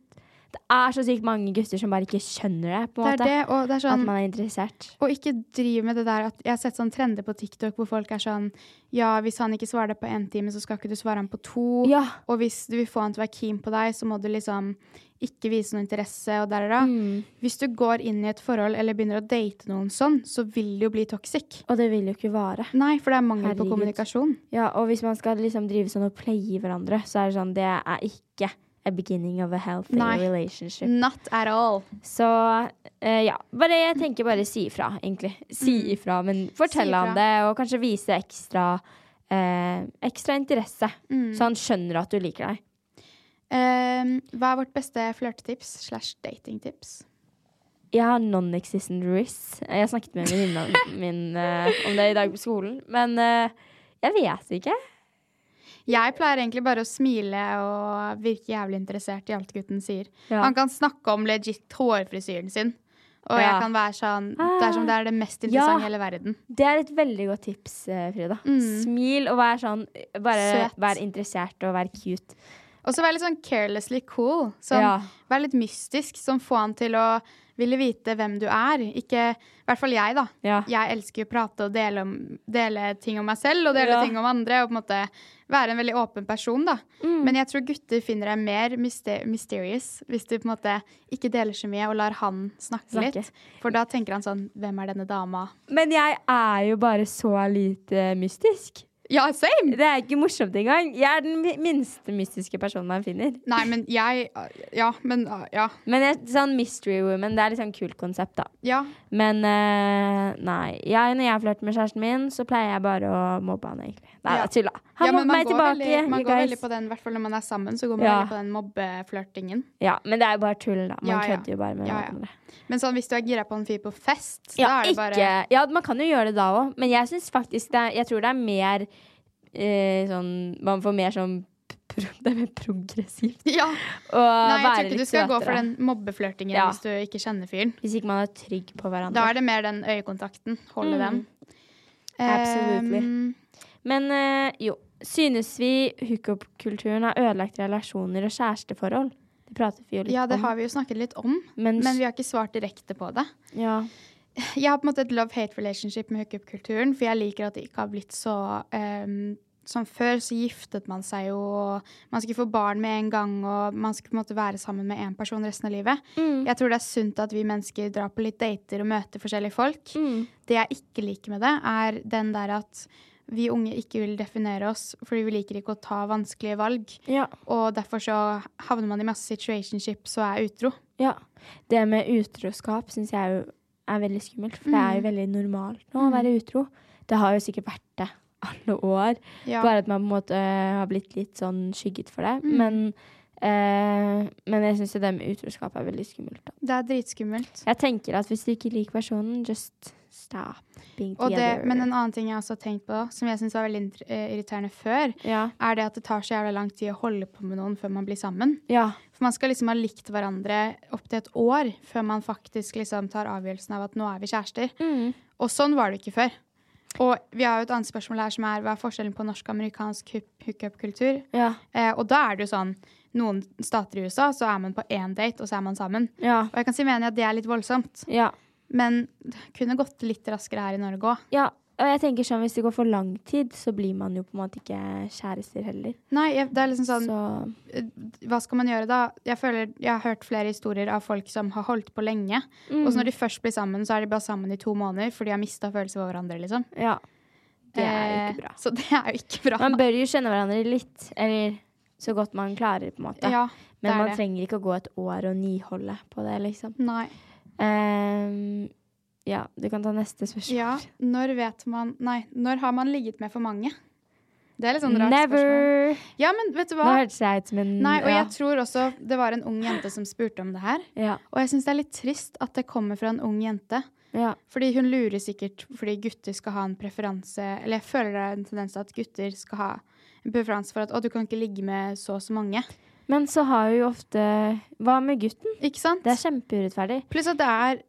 Det er så sykt mange gutter som bare ikke skjønner det, på en Det er måte. det, og det er At sånn man er interessert. Og ikke driv med det der at Jeg har sett sånn trender på TikTok hvor folk er sånn Ja, hvis han ikke svarer deg på én time, så skal ikke du svare han på to. Ja. Og hvis du vil få han til å være keen på deg, så må du liksom ikke vise noe interesse. og der og da. Hvis du går inn i et forhold eller begynner å date noen sånn, så vil det jo bli toxic. Og det vil jo ikke vare. Nei, for det er mangel på Herregud. kommunikasjon. Ja, og hvis man skal liksom drive sånn og playe hverandre, så er det sånn Det er ikke a beginning of a healthy Nei. Mm. relationship. Not at all. Så eh, ja. Bare, jeg tenker bare si ifra, egentlig. Si ifra, men Mm. fortell Si ifra. han det, og kanskje vise ekstra eh, Ekstra interesse. Mm. Så han skjønner at du liker deg. Ehm, hva er vårt beste flørtetips slash datingtips? Jeg har non-existent riss. Jeg snakket med en venninne min eh, om det i dag på skolen, men eh, jeg vet ikke. Jeg pleier egentlig bare å smile og virke jævlig interessert i alt gutten sier. Ja. Han kan snakke om legit hårfrisyren sin. Og jeg Ja. Ah, kan være sånn Det er som det er det mest interessante i hele verden. Det er et veldig godt tips, eh, Frida. Smil og vær sånn Bare Mm. Søt. vær interessert og vær cute. Og så være litt sånn carelessly cool. Sånn, Ja. Vær litt mystisk, som får han til å ville vite hvem du er. Ikke I hvert fall jeg, da. Ja. Jeg elsker å prate og dele, om, dele ting om meg selv og dele Ja. ting om andre. Og på en måte være en veldig åpen person, da. Mm. Men jeg tror gutter finner deg mer myste- mysterious hvis du på en måte ikke deler så mye og lar han snakke, Snakke. litt. For da tenker han sånn Hvem er denne dama? Men jeg er jo bare så lite mystisk. Ja, same! Det er ikke morsomt engang. Jeg er den mi- minste mystiske personen man finner. Nei, men jeg øh, Ja, men ja. Men jeg, sånn mystery woman, det er liksom kult konsept, da. ja. Men eh, nei. Jeg, når jeg flørter med kjæresten min, så pleier jeg bare å mobbe han, egentlig. Nei, Ja. da, tulla. Han ja, men mobber meg går tilbake. Veldig, man you går guys. veldig på den, i hvert fall når man er sammen, så går man Ja. veldig på den mobbeflørtingen. Ja, men det er jo bare tull, da. Man Ja, ja. kødder jo bare med Ja, ja. hverandre. Men sånn, hvis du er gira på en fyr på fest, Ja, da er det ikke, bare ja, man kan jo gjøre det da òg, men jeg syns faktisk det er Jeg tror det er mer eh, sånn Man får mer sånn pro, det er mer progressivt. Ja. Å Nei, jeg være tror ikke litt du skal gå søtere. for den mobbeflørtingen Ja. hvis du ikke kjenner fyren. Hvis ikke man er trygg på hverandre. Da er det mer den øyekontakten. Holde Mm. den. Absolutely. Ehm, Men eh, jo. Synes vi hookup-kulturen har ødelagt relasjoner og kjæresteforhold? Det prater vi jo litt ja, det om. har vi jo snakket litt om, Men, men vi har ikke svart direkte på det. ja. Jeg har på en måte et love-hate relationship med hookup-kulturen, for jeg liker at det ikke har blitt så ehm, Som før så giftet man seg jo, og man skulle få barn med en gang, og man skulle på en måte være sammen med én person resten av livet. Mm. Jeg tror det er sunt at vi mennesker drar på litt dater og møter forskjellige folk. Mm. Det jeg ikke liker med det, er den der at vi unge ikke vil definere oss fordi vi liker ikke å ta vanskelige valg. ja. Og derfor så havner man i masse situationships og er utro. Ja. Det med utroskap syns jeg jo er veldig skummelt. For det er Mm. jo veldig normalt nå å være utro. Det har jo sikkert vært det alle år. Ja. Mm. Bare at man på en måte øh, har blitt litt sånn skygget for det. Men, øh, men jeg syns jo det med utroskap er veldig skummelt. Da. Det er dritskummelt. Jeg tenker at hvis du ikke liker personen, just stop being Og det, together. men en annen ting jeg også har tenkt på, som jeg syns var veldig inter- eh, irriterende før, ja. er det at det tar så jævla lang tid å holde på med noen før man blir sammen. ja. For man skal liksom ha likt hverandre opptil et år før man faktisk liksom tar avgjørelsen av at nå er vi kjærester. Og sånn var det ikke før. Og vi har jo et annet spørsmål her som er hva er forskjellen på norsk og amerikansk hook- hookup-kultur? Ja. Eh, og da er det jo sånn noen stater i USA så er man på én date, og så er man sammen. Ja. Og jeg kan si enig i at det er litt voldsomt, ja. men det kunne gått litt raskere her i Norge òg. Ja, og jeg tenker sånn Hvis det går for lang tid, så blir man jo på en måte ikke kjærester heller. Nei, jeg, det er liksom sånn Så eh, Hva skal man gjøre da? Jeg føler, jeg har hørt flere historier av folk som har holdt på lenge. Og Mm. så når de først blir sammen, så er de bare sammen i to måneder, for de har mista følelser for hverandre. liksom. ja. Det er jo ikke bra. Eh, Så det er jo ikke bra. Man bør jo kjenne hverandre litt, eller så godt man klarer, på en måte. ja, det Men er man det. trenger ikke å gå et år og niholde på det, liksom. Nei. Ehm, ja, du kan ta neste spørsmål. Ja, når vet man Nei, når har man ligget med for mange? Det er litt sånn rart spørsmål. Never! Ja, men vet du Nå hva? hørtes jeg ut som en Nei, og ja. jeg tror også det var en ung jente som spurte om det her. ja, Og jeg syns det er litt trist at det kommer fra en ung jente. ja, Fordi hun lurer sikkert fordi gutter skal ha en preferanse Eller jeg føler det er en tendens til at gutter skal ha en preferanse for at å, du kan ikke ligge med så og så mange. Men så har jo ofte Hva med gutten? Ikke sant? Det er kjempeurettferdig. Pluss at det er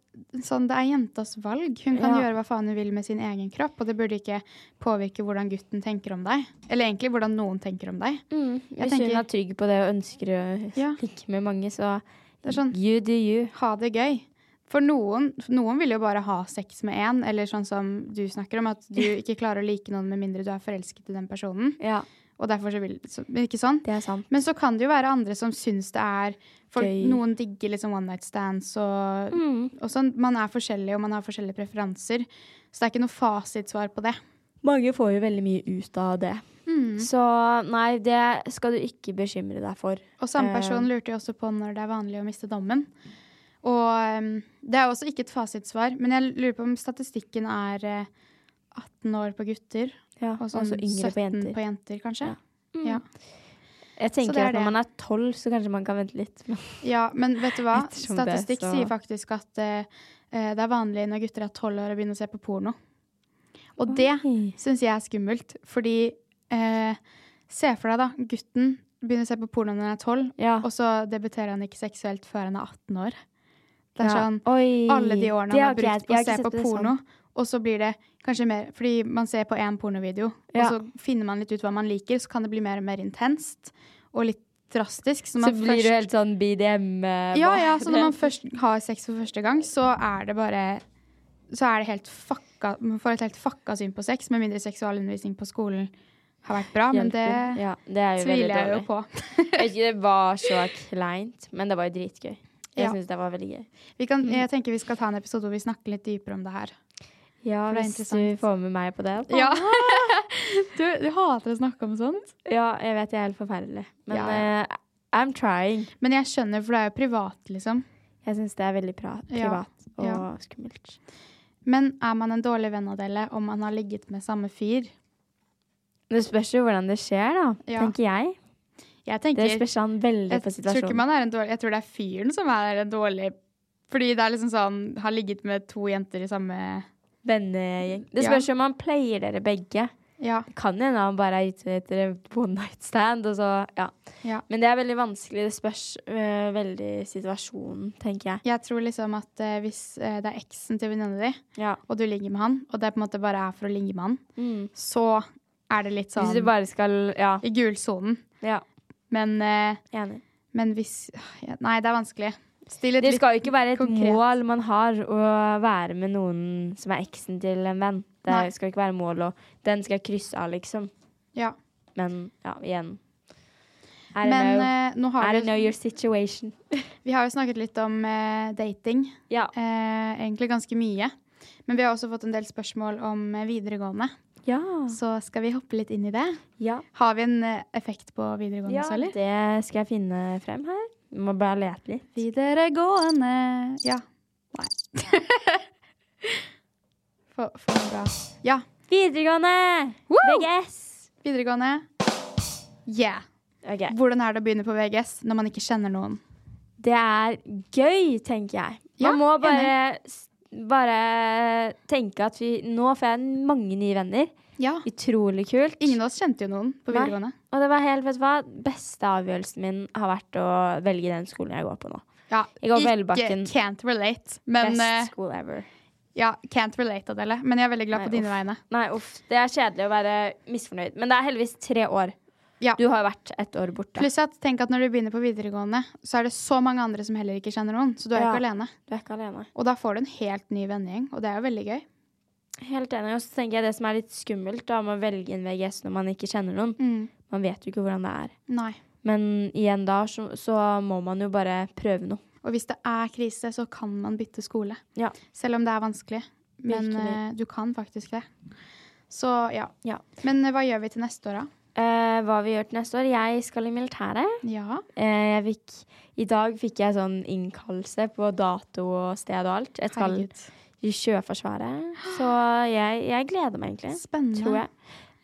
sånn, det er jentas valg. Hun kan Ja. gjøre hva faen hun vil med sin egen kropp, og det burde ikke påvirke hvordan gutten tenker om deg. Eller egentlig hvordan noen tenker om deg. Hvis Mm, tenker- hun er trygg på det og ønsker å Ja. ligge med mange, så Det er sånn- you do you. ha det gøy. For noen, noen vil jo bare ha sex med én, eller sånn som du snakker om, at du ikke klarer å like noen med mindre du er forelsket i den personen. Ja, Og derfor så vil så, Ikke sånn? det er sant. Men så kan det jo være andre som syns det er folk, Gøy. Mm. Noen digger liksom one night stands og, og sånn. Man er forskjellig, og man har forskjellige preferanser. Så det er ikke noe fasitsvar på det. Mange får jo veldig mye ut av det. Mm. Så nei, det skal du ikke bekymre deg for. Og samme Eh. person lurte jo også på når det er vanlig å miste dommen. Og ehm, det er også ikke et fasitsvar, men jeg lurer på om statistikken er eh, 18 år på gutter Ja, og sånn altså yngre 17 på jenter. kanskje. Ja. Ja. Ja. Jeg Så det tenker er at når det. man er tolv, så kanskje man kan vente litt. Men men vet du hva? Ettersom det er Statistikk så- sier faktisk at eh, eh, det er vanlig når gutter er 12 år å begynne å se på porno. Og det Oi. syns jeg er skummelt, fordi eh, Se for deg, da. Gutten begynner å se på porno når han er 12, Ja. og så debuterer han ikke seksuelt før han er 18 år. Det er Ja. sånn Oi. alle de årene Det han har ikke jeg- brukt på å jeg har se ikke på sett det porno. sånn. Og så blir det kanskje mer Fordi man ser på én pornovideo, Ja. og så finner man litt ut hva man liker, så kan det bli mer og mer intenst og litt drastisk. Så, Så man blir du først, helt sånn BDM. eh, ja, bare. ja, så når man først har sex for første gang, så er det bare Så er det helt fucka Man får et helt fucka syn på sex, med mindre seksualundervisning på skolen har vært bra, men det Hjelper. ja, det er jo tviler jeg jo veldig dårlig. på. Jeg vet ikke, det var så kleint, men det var jo dritgøy. Jeg Ja. synes syns det var veldig gøy. Vi kan, jeg tenker vi skal ta en episode hvor vi snakker litt dypere om det her. Ja, For det er hvis du får med meg på det. da. Ja. Du, du hater å snakke om sånt. Ja, jeg vet jeg er helt forferdelig. Men Ja, ja. eh, I'm trying. Men jeg skjønner, for det er jo privat, liksom. Jeg syns det er veldig pra Ja, privat og ja. skummelt. Men er man en dårlig venn av dere om man har ligget med samme fyr? Det spørs jo hvordan det skjer, da, Ja. tenker jeg. Jeg Det tenker, spørs han veldig jeg på tror ikke situasjonen. man er en dårlig Jeg tror det er fyren som er en dårlig Fordi det er liksom sånn Har ligget med to jenter i samme Vennegjeng. Det Ja. spørs jo om han pleier dere begge. Ja. Kan hende han bare er ute etter et one night stand. Og så, ja. ja. Men det er veldig vanskelig. Det spørs øh, veldig situasjonen, tenker jeg. Jeg tror liksom at eh, hvis eh, det er eksen til venninna di, Ja. og du ligger med han, og det på en måte bare er for å ligge med han, så er det litt Mm. Hvis sånn du bare skal Ja. i gulsonen. ja Men, eh, enig. men hvis øh, ja, Nei, det er vanskelig. Still et Det litt skal jo ikke være et konkret. mål man har å være med noen som er eksen til en venn. Det Nei. skal ikke være mål, og den skal jeg krysse av, liksom. Ja. Men ja, igjen. I don't Men know. eh, nå I har don't know vi, your situation. vi har jo snakket litt om eh, dating. Ja. Eh, egentlig ganske mye. Men vi har også fått en del spørsmål om eh, videregående. Ja. Så skal vi hoppe litt inn i det. ja. Har vi en eh, effekt på videregående Ja, også, eller? det skal jeg finne frem her. Vi må bare lete litt. Videregående Ja. Nei. for, for bra. Ja. Videregående! VGS! Videregående. Yeah. Ok. Hvordan er det å begynne på VGS når man ikke kjenner noen? Det er gøy, tenker jeg. Man Ja, må bare, s- bare tenke at vi, nå får jeg mange nye venner. Ja. Utrolig kult. Ingen av oss kjente jo noen på Nei. videregående. Og det var helt, vet du hva, beste avgjørelsen min har vært å velge den skolen jeg går på nå. Ja, Jeg går på ikke Elbakken. can't relate. Men eh, Best school ever. ja, can't relate, Adele. Men jeg er veldig glad Nei, på dine uff. vegne. Nei, uff. Det er kjedelig å være misfornøyd. Men det er heldigvis tre år. Ja. Du har jo vært et år borte. Pluss at tenk at når du begynner på videregående, så er det så mange andre som heller ikke kjenner noen. Så du er jo Ja. ikke alene. Du er ikke alene. Og da får du en helt ny vennegjeng, og det er jo veldig gøy. Helt enig. Og så tenker jeg det som er litt skummelt da, med å velge en VGS når man ikke kjenner noen, Mm. man vet jo ikke hvordan det er. Nei. Men igjen da, så, så må man jo bare prøve noe. Og hvis det er krise, så kan man bytte skole. Ja. Selv om det er vanskelig. Men Virkelig. eh, du kan faktisk det. Så ja. Ja. Men eh, hva gjør vi til neste år, da? Eh, hva vi gjør til neste år? Jeg skal i militæret. Ja. Eh, jeg fikk, I dag fikk jeg sånn innkallelse på dato og sted og alt. Jeg skal Herregud. i Sjøforsvaret. Så jeg, jeg gleder meg egentlig. Spennende. Tror jeg.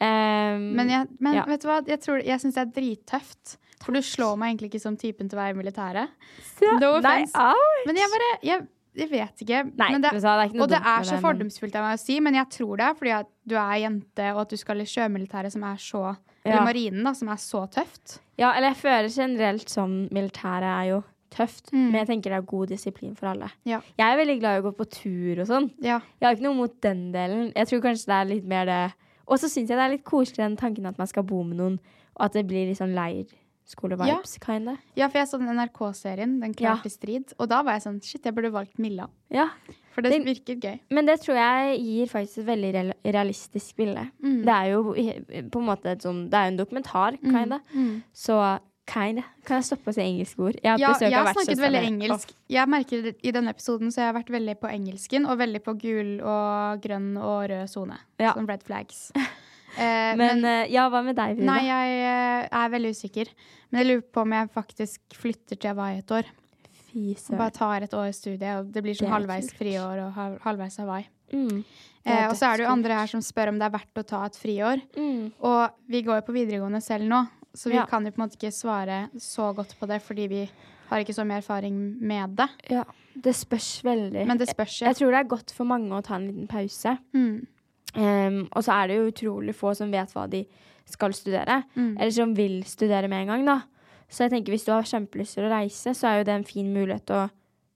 Ehm, Men, jeg, men Ja. vet du hva? jeg, tror- jeg syns det er drittøft. For du slår meg egentlig ikke som typen til å være i militæret. så- no nei, offense. au! Men jeg bare Jeg, jeg vet ikke. Nei, men det, men så er det ikke noe og det dumt med er så det, men- fordomsfullt av meg å si, men jeg tror det er fordi at du er jente, og at du skal i sjømilitæret, som er så Eller Ja. marinen, da, som er så tøft. Ja, eller jeg føler generelt som militæret er jo tøft, Mm. men jeg tenker det er god disiplin for alle. Ja. Jeg er veldig glad i å gå på tur og sånn. Ja. Jeg har ikke noe mot den delen. Jeg tror kanskje det er litt mer det Og så syns jeg det er litt koselig den tanken at man skal bo med noen, og at det blir litt sånn leirskolevibes, kinda. ja, for jeg så den NRK-serien, Den Ja. klart i strid, og da var jeg sånn Shit, jeg burde valgt Milla. Ja. For det Den- virket gøy. Men det tror jeg gir faktisk et veldig real- realistisk bilde. Mm. Det er jo he- på en måte et sånn Det er jo en dokumentar, kinda. Så kinda. Kan jeg stoppe å si engelske ord? Jeg mm. har Ja, besøk jeg har av snakket vertssøstera veldig mi. engelsk. Jeg merker det I denne episoden så jeg har vært veldig på engelsken, og veldig på gul og grønn og rød sone. Ja. Sånn red flags. Eh, Men, eh, ja, hva med deg, Vida? Nei, jeg eh, er veldig usikker. Men jeg lurer på om jeg faktisk flytter til Hawaii et år. Fy Og bare søren. tar et år studie, og det blir Det sånn er halvveis kult. friår og hal- halvveis Hawaii. Mm. Det er Eh, og så er det jo dødskult. andre her som spør om det er verdt å ta et friår. Mm. Og vi går jo på videregående selv nå, så vi Ja. kan jo på en måte ikke svare så godt på det, fordi vi har ikke så mye erfaring med det. Ja, det spørs veldig. Men det spørs jo. Jeg tror det er godt for mange å ta en liten pause. Mm. Ehm, og så er det jo utrolig få som vet hva de skal studere, Mm. eller som vil studere med en gang. da. Så jeg tenker hvis du har kjempelyst til å reise, så er jo det en fin mulighet å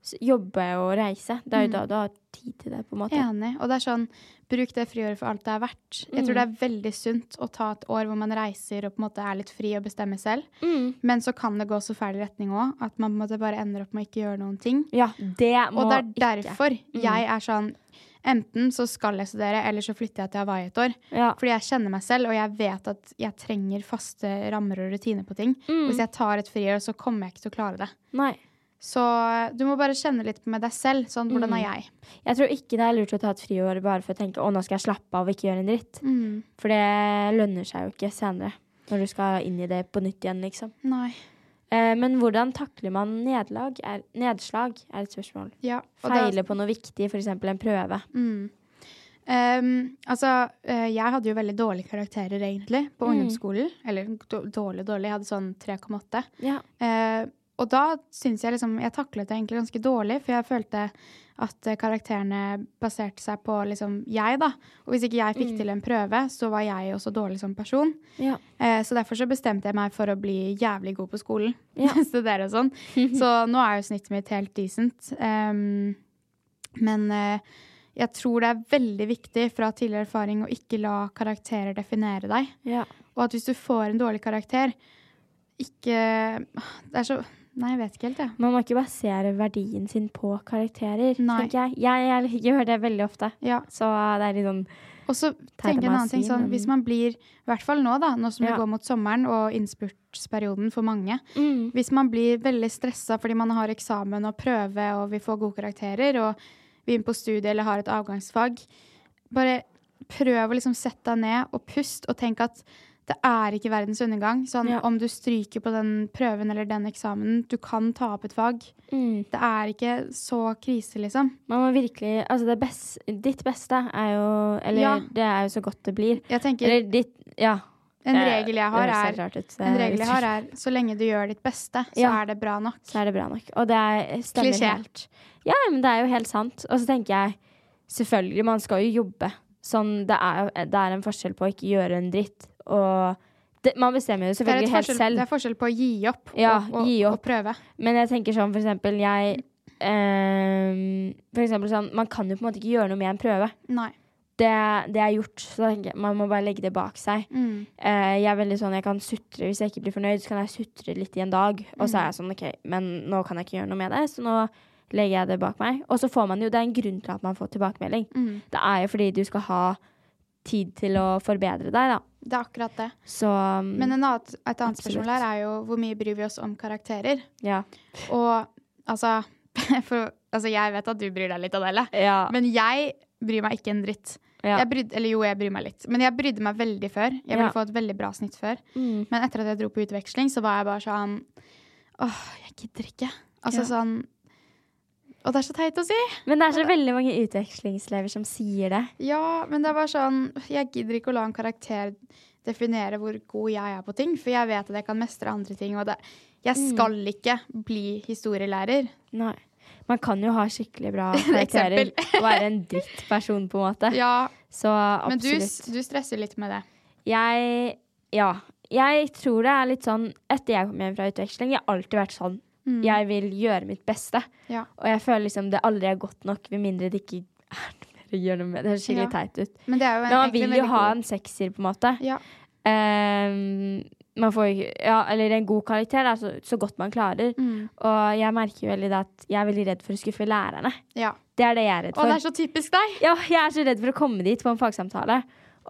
s- jobbe og reise. Det er Mm. jo da du har tid til det, på en måte. Enig. Og det er sånn, bruk det friåret for alt det er verdt. Jeg Mm. tror det er veldig sunt å ta et år hvor man reiser og på en måte er litt fri og bestemmer selv. Mm. Men så kan det gå så fæl retning òg, at man på en måte bare ender opp med å ikke gjøre noen ting. Ja, det må Og det er ikke. Mm. derfor jeg er sånn Enten så skal jeg studere, eller så flytter jeg til Hawaii et år. Ja. Fordi jeg kjenner meg selv, og jeg vet at jeg trenger faste rammer og rutiner på ting. Mm. Hvis jeg tar et friår, så kommer jeg ikke til å klare det. Nei. Så du må bare kjenne litt med deg selv. Sånn, hvordan Mm. er jeg? Jeg tror ikke det er lurt å ta et friår bare for å tenke å nå skal jeg slappe av og ikke gjøre en Mm. dritt. For det lønner seg jo ikke senere, når du skal inn i det på nytt igjen, liksom. Nei. Eh, men hvordan takler man nedlag? Er, nedslag er et spørsmål. Ja. og det- Feile på noe viktig, f.eks. en prøve. Mm. Ehm, altså, eh, jeg hadde jo veldig dårlige karakterer Mm. egentlig på ungdomsskolen. Eller d- dårlig, dårlig. Jeg hadde sånn 3,8. Ja. Eh, Og da syns jeg liksom Jeg taklet det egentlig ganske dårlig, for jeg følte at eh, karakterene baserte seg på liksom jeg, da. Og hvis ikke jeg fikk til en prøve, så var jeg også dårlig som person. Ja. Eh, så derfor så bestemte jeg meg for å bli jævlig god på skolen. Ja. Studere og sånn. Så nå er jo snittet mitt helt decent. Ehm, men eh, jeg tror det er veldig viktig fra tidligere erfaring å ikke la karakterer definere deg. Ja. Og at hvis du får en dårlig karakter, ikke Det er så Nei, jeg vet ikke helt, jeg. Man må ikke basere verdien sin på karakterer, Nei. tenker jeg. Jeg, jeg, gjør det veldig ofte. Ja. Så det er litt sånn Og så tenker jeg en meg å annen ting si, sånn, men- Hvis man blir, i hvert fall nå da, nå som Ja. det går mot sommeren og innspurtsperioden for mange, Mm. hvis man blir veldig stressa fordi man har eksamen og prøve og vi får gode karakterer og vi er inne på studiet eller har et avgangsfag, bare prøv å liksom sette deg ned og pust og tenk at det er ikke verdens undergang. Sånn, Ja. Om du stryker på den prøven eller den eksamen, du kan ta opp et fag. mm. Det er ikke så krise, liksom. Man må virkelig Altså, det best, ditt beste er jo Eller Ja. det er jo så godt det blir. Jeg tenker, Eller ditt Ja. en det- regel jeg det har høres er helt rart ut, det En regel jeg har, uttrykket. er så lenge du gjør ditt beste, så Ja. er det bra nok. Så er det bra nok. Og det er, stemmer Klisjé. helt. Ja, men det er jo helt sant. Og så tenker jeg selvfølgelig, man skal jo jobbe. Sånn, det er, jo- det er en forskjell på å ikke gjøre en dritt. Og det, man bestemmer jo Det er, selvfølgelig et helt forskjell, selv. det er forskjell på å gi opp, Ja, og, og, gi opp. og prøve. Men jeg tenker sånn for eksempel jeg ehm, For eksempel sånn Man kan jo på en måte ikke gjøre noe med en prøve. Nei. Det, det er gjort. Så da tenker jeg, man må bare legge det bak seg. Mm. Eh, jeg er veldig sånn, jeg kan sutre Hvis jeg ikke blir fornøyd, så kan jeg sutre litt i en dag. Og så er jeg sånn, ok, men nå kan jeg ikke gjøre noe med det, så nå legger jeg det bak meg. Og så får man jo, det er en grunn til at man får tilbakemelding. Mm. Det er jo fordi du skal ha tid til å forbedre deg, da. Det er akkurat det. Så um, Men en annen, et annet Absolutt. spørsmål her er jo hvor mye bryr vi oss om karakterer? ja. Og altså, for, altså Jeg vet at du bryr deg litt, Adele, Ja. men jeg bryr meg ikke en dritt. ja. Jeg brydde, eller jo, jeg bryr meg litt, men jeg brydde meg veldig før. Jeg ville Ja. få et veldig bra snitt før. Mm. Men etter at jeg dro på utveksling, så var jeg bare sånn Åh, jeg gidder ikke. Altså Ja. sånn Og det er så teit å si. Men det er så veldig mange utvekslingselever som sier det. Ja, men det er bare sånn Jeg gidder ikke å la en karakter definere hvor god jeg er på ting, for jeg vet at jeg kan mestre andre ting. Og det, jeg skal ikke bli historielærer. Nei. Man kan jo ha skikkelig bra karakterer og være en drittperson, på en måte. Ja, Så absolutt. men du, s- du stresser litt med det. Jeg Ja. Jeg tror det er litt sånn Etter jeg kom hjem fra utveksling, jeg har alltid vært sånn. Jeg vil gjøre mitt beste. Mm. Ja. Og jeg føler liksom det aldri er godt nok, med mindre det ikke er noe mer å gjøre noe med. Det høres Ja. skikkelig teit ut. Men det er jo Men man egentlig vil veldig jo ha god- en sekser, på en måte. ja. Ehm, man får jo ikke Ja, eller en god karakter, da, så, så godt man klarer. Mm, Og jeg merker jo veldig det at jeg er veldig redd for å skuffe lærerne. ja. Det er det jeg er redd Å, for. det er så typisk deg! Ja, jeg er så redd for å komme dit på en fagsamtale,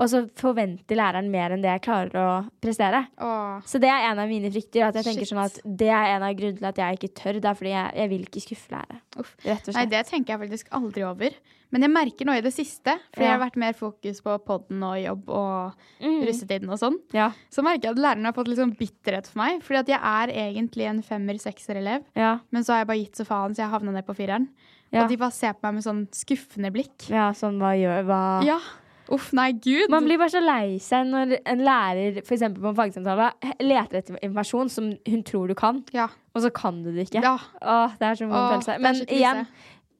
og så forventer læreren mer enn det jeg klarer å prestere. Åh. Så det er en av mine frykter. At jeg tenker Shit. sånn at Det er en av grunnene til at jeg ikke tør. Det er fordi jeg, jeg vil ikke skuffe lærere. Uff. Rett og Nei, slett. det tenker jeg faktisk aldri over. Men jeg merker nå i det siste, for jeg Ja. har vært mer fokus på podden og jobb og Mm. russetiden og sånn. Ja. Så merker jeg at læreren har fått litt sånn bitterhet for meg. Fordi at jeg er egentlig en femmer-sekser-elev, Ja. men så har jeg bare gitt så faen, så jeg havna ned på fireren. Ja. Og de bare ser på meg med sånn skuffende blikk. ja, sånn hva gjør hva Ja. Uff, nei, gud. Man blir bare så lei seg når en lærer for eksempel på en fagsamtale leter etter informasjon som hun tror du kan, Ja. og så kan du det ikke. ja. Åh, det er så vond Åh, følelse. det er Men så krise. igjen,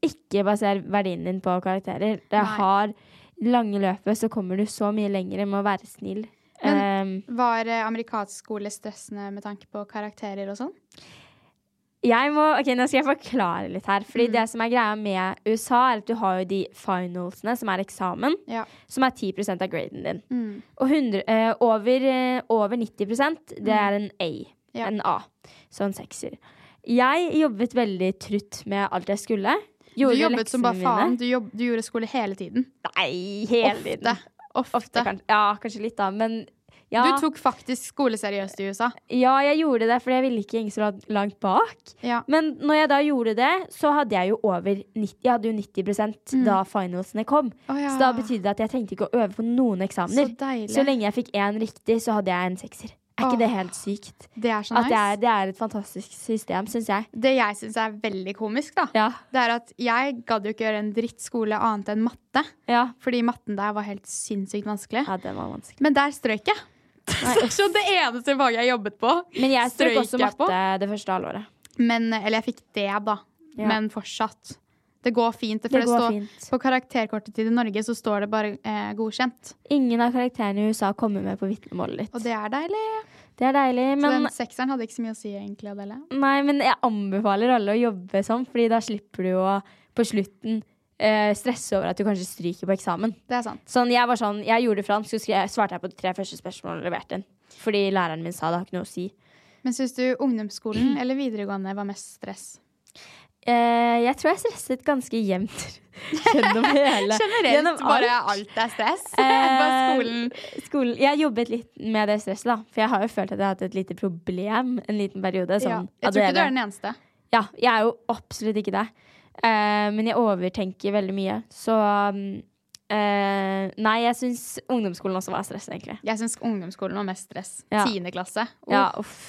ikke baser verdien din på karakterer. Det Nei. har lange løpet, så kommer du så mye lenger med å være snill. Ehm, Var eh, amerikansk skole stressende med tanke på karakterer og sånn? jeg må, ok, Nå skal jeg forklare litt her. Fordi Mm. det som er greia med USA, er at du har jo de finalsene, som er eksamen, Ja. som er 10 av graden din. Mm. Og 100, eh, over, eh, over 90 det er en A. Mm. Ja. En A. Så en sekser. Jeg jobbet veldig trutt med alt jeg skulle. Du Gjorde jobbet som bare leksene faen. mine. Du, jobb, du gjorde skole hele tiden. Nei, hele tiden. Ofte. Ofte. Kanskje, ja, kanskje litt, da. Men ja, Du tok faktisk skole seriøst i USA. ja, jeg gjorde det, for jeg ville ikke henge så la- langt bak. Ja. Men når jeg da gjorde det, så hadde jeg jo over 90, jeg hadde jo 90 da finalsene kom. Mm. Å ja. Så da betydde det at jeg trengte ikke å øve på noen Så eksamener. deilig. Så, lenge jeg fikk én riktig, så hadde jeg en sekser. Er ikke Åh, det helt sykt? det er så At nice. det er, det er et fantastisk system, syns jeg. Det jeg syns er veldig komisk, da, Ja, det er at jeg gadd jo ikke gjøre en drittskole annet enn matte. ja. Fordi matten der var helt sinnssykt vanskelig. ja den var vanskelig. Men der strøyk jeg. Så det eneste faget jeg jobbet på. Men jeg strøk strøyk også jeg på. matte det første halvåret. Men, eller jeg fikk det, da. Ja. Men fortsatt. Det går fint. For Det det, går står, fint. På karakterkortet til Norge så står det bare eh, godkjent. Ingen av karakterene i USA kommer med på vitnemålet ditt. Og det er deilig. Det er deilig, Så men den sekseren hadde ikke så mye å si, egentlig. Adele. Nei, men jeg anbefaler alle å jobbe sånn, Fordi da slipper du å på slutten eh, stresse over at du kanskje stryker på eksamen. Det er sant. Sånn, jeg var sånn, jeg gjorde fransk, så skre- svarte jeg på de tre første spørsmålene og leverte den. Fordi læreren min sa det har ikke noe å si. Men syns du Mm. ungdomsskolen eller videregående var mest stress? Eh, jeg tror jeg stresset ganske jevnt gjennom hele. gjennom Generelt bare alt. alt er stress. Eh, bare skolen. skolen. Jeg jobbet litt med det stresset, da. For jeg har jo følt at jeg har hatt et lite problem en liten periode. Ja. Sånn, Jeg tror Adele. ikke du er den eneste. Ja, jeg er jo absolutt ikke det. Eh, men jeg overtenker veldig mye. Så mm, eh, Nei, jeg syns ungdomsskolen også var stress, egentlig. Jeg syns ungdomsskolen var mest stress. Ja. Tiende klasse. Oh. Ja, uff.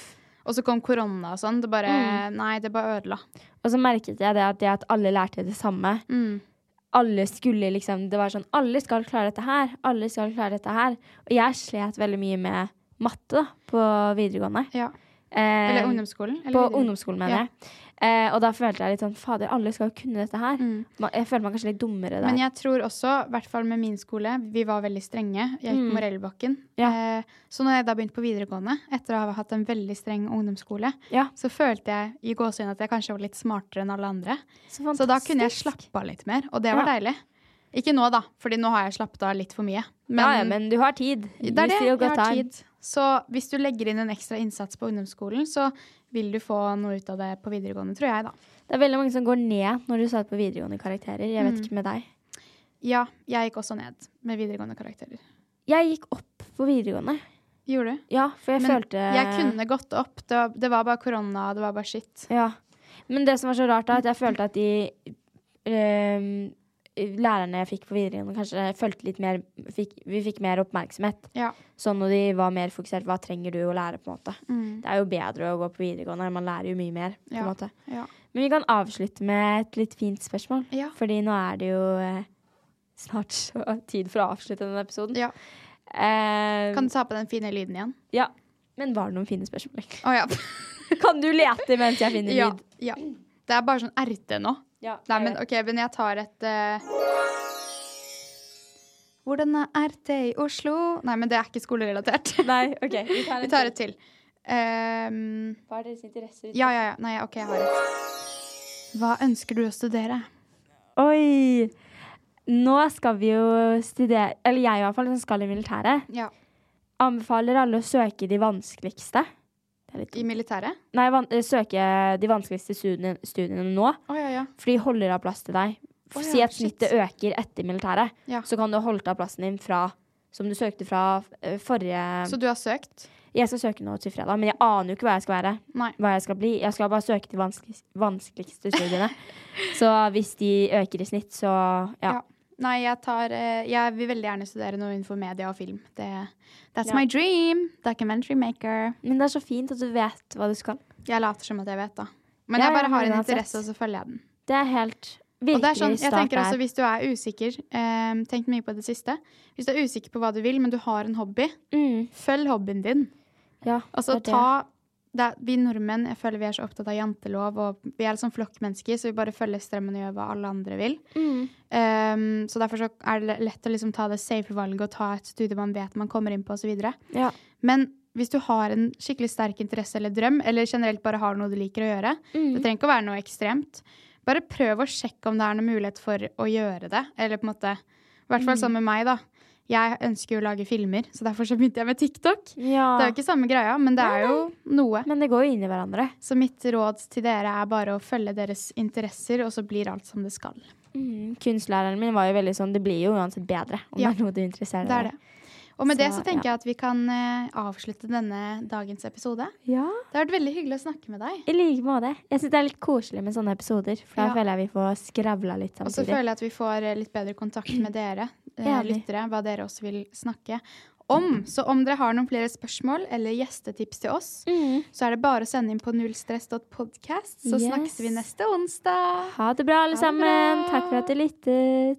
Og så kom korona og sånn. Det bare Nei, det bare ødela. Og så merket jeg det at, det at alle lærte det samme. Mm. Alle skulle liksom Det var sånn Alle skal klare dette her. Alle skal klare dette her. Og jeg slet veldig mye med matte da, på videregående. Ja. Eh, Eller ungdomsskolen. Eller På videregående. ungdomsskolen, mener Ja. jeg. Eh, og da følte jeg litt sånn Fader, alle skal jo kunne dette her. Mm. Man, jeg føler meg kanskje litt dummere der. Men jeg tror også, i hvert fall med min skole, vi var veldig strenge. Jeg gikk på Morellbakken. Mm. Ja. Eh, så når jeg da begynte på videregående, etter å ha hatt en veldig streng ungdomsskole, Ja. så følte jeg i gåsehud at jeg kanskje var litt smartere enn alle andre. så, Så da kunne jeg fantastisk. slappe av litt mer, og det var Ja. deilig. Ikke nå, da, Fordi nå har jeg slappet av litt for mye. Men, ja, ja, men du har tid. det er det. You still Jeg got har time. tid. Så hvis du legger inn en ekstra innsats på ungdomsskolen, så vil du få noe ut av det på videregående, tror jeg, da. Det er veldig mange som går ned når du satt på videregående karakterer. Jeg Mm. vet ikke med deg. Ja, jeg gikk også ned med videregående karakterer. Jeg gikk opp på videregående. Gjorde du? Ja, for jeg Men følte jeg kunne gått opp. Det var, det var bare korona, det var bare shit. Ja. Men det som var så rart, da, at jeg følte at de ehm, Lærerne jeg fikk på videregående, kanskje følte litt mer fikk, Vi fikk mer oppmerksomhet. Ja. Sånn når de var mer fokusert hva trenger du å lære, på en måte. Mm. Det er jo bedre å gå på videregående. Man lærer jo mye mer. på en Ja. måte. Ja. Men vi kan avslutte med et litt fint spørsmål. Ja. Fordi nå er det jo eh, snart så tid for å avslutte denne episoden. Ja. Eh, Kan du ta på den fine lyden igjen? ja. Men var det noen fine spørsmål? Å ja. kan du lete mens jeg finner ja. lyd? Ja. Det er bare sånn RT nå. Ja, Eh, Nei, jeg men vet. OK, men jeg tar et eh, Hvordan er RT i Oslo? Nei, men det er ikke skolerelatert. Nei, OK. Vi tar, Vi tar et til. Ehm, Hva er deres interesser? ja, ja, ja. Nei, OK, jeg har et. Hva ønsker du å studere? Oi! Nå skal vi jo studere Eller jeg i hvert fall, som skal i militæret. Ja, Anbefaler alle å søke de vanskeligste. Det er litt I militæret? Nei, van eh, søke de vanskeligste studiene, studiene nå. Å ja, ja. For de holder av plass til deg. Å ja, si at shit. snittet øker etter militæret, Ja. så kan du holde av plassen din fra som du søkte fra eh, forrige Så du har søkt? Jeg skal søke nå til fredag, men jeg aner jo ikke hva jeg skal være. Nei. Hva jeg skal bli. Jeg skal bare søke til vanskelig, vanskeligste studiene. så hvis de øker i snitt, så ja. Ja. Nei, jeg tar eh, Jeg vil veldig gjerne studere noe innenfor media og film. Det, that's Ja. my dream! Documentary maker. Men det er så fint at du vet hva du skal. Jeg later som at jeg vet, da. Men Ja, jeg ja, bare har en uansett. interesse, og så følger jeg den. Det er helt Og det virkelig er sånn, jeg start tenker også der. Hvis du er usikker, eh, tenk mye på det siste. Hvis du er usikker på hva du vil, men du har en hobby, Mm, følg hobbyen din. ja, Altså, det er det. ta det, er- Vi nordmenn jeg føler vi er så opptatt av jantelov, og vi er liksom flokkmennesker, så vi bare følger strømmen og gjør hva alle andre vil. Mm. Ehm, så derfor så er det lett å liksom ta det safe valget og ta et studie man vet man kommer inn på, osv. Ja. Men hvis du har en skikkelig sterk interesse eller drøm, eller generelt bare har noe du liker å gjøre, Mm. det trenger ikke å være noe ekstremt. Bare prøv å sjekke om det er noen mulighet for å gjøre det. Eller på en måte I hvert fall Mm. sånn med meg, da. Jeg ønsker jo å lage filmer, så derfor så begynte jeg med TikTok. ja. Det er jo ikke samme greia, men det er jo noe. Men det går jo inn i hverandre. Så mitt råd til dere er bare å følge deres interesser, og så blir alt som det skal. Mm, kunstlæreren min var jo veldig sånn Det blir jo uansett bedre om Ja. det er noe du interesserer Det er deg det. Og med Så, det så tenker jeg at vi kan eh, avslutte denne dagens episode. i. Ja, Det har vært veldig hyggelig å snakke med deg. I like måte. Jeg syns det er litt koselig med sånne episoder, for da Ja. føler jeg vi får skravla litt Og så samtidig. føler jeg at vi får eh, litt bedre kontakt med dere eh, Enig. lyttere, hva dere også vil snakke om. Så om dere har noen flere spørsmål eller gjestetips til oss, Mm. så er det bare å sende inn på nullstress.podkast, så Yes. snakkes vi neste onsdag. Ha det bra, alle Ha det sammen. bra. Takk for at du lyttet.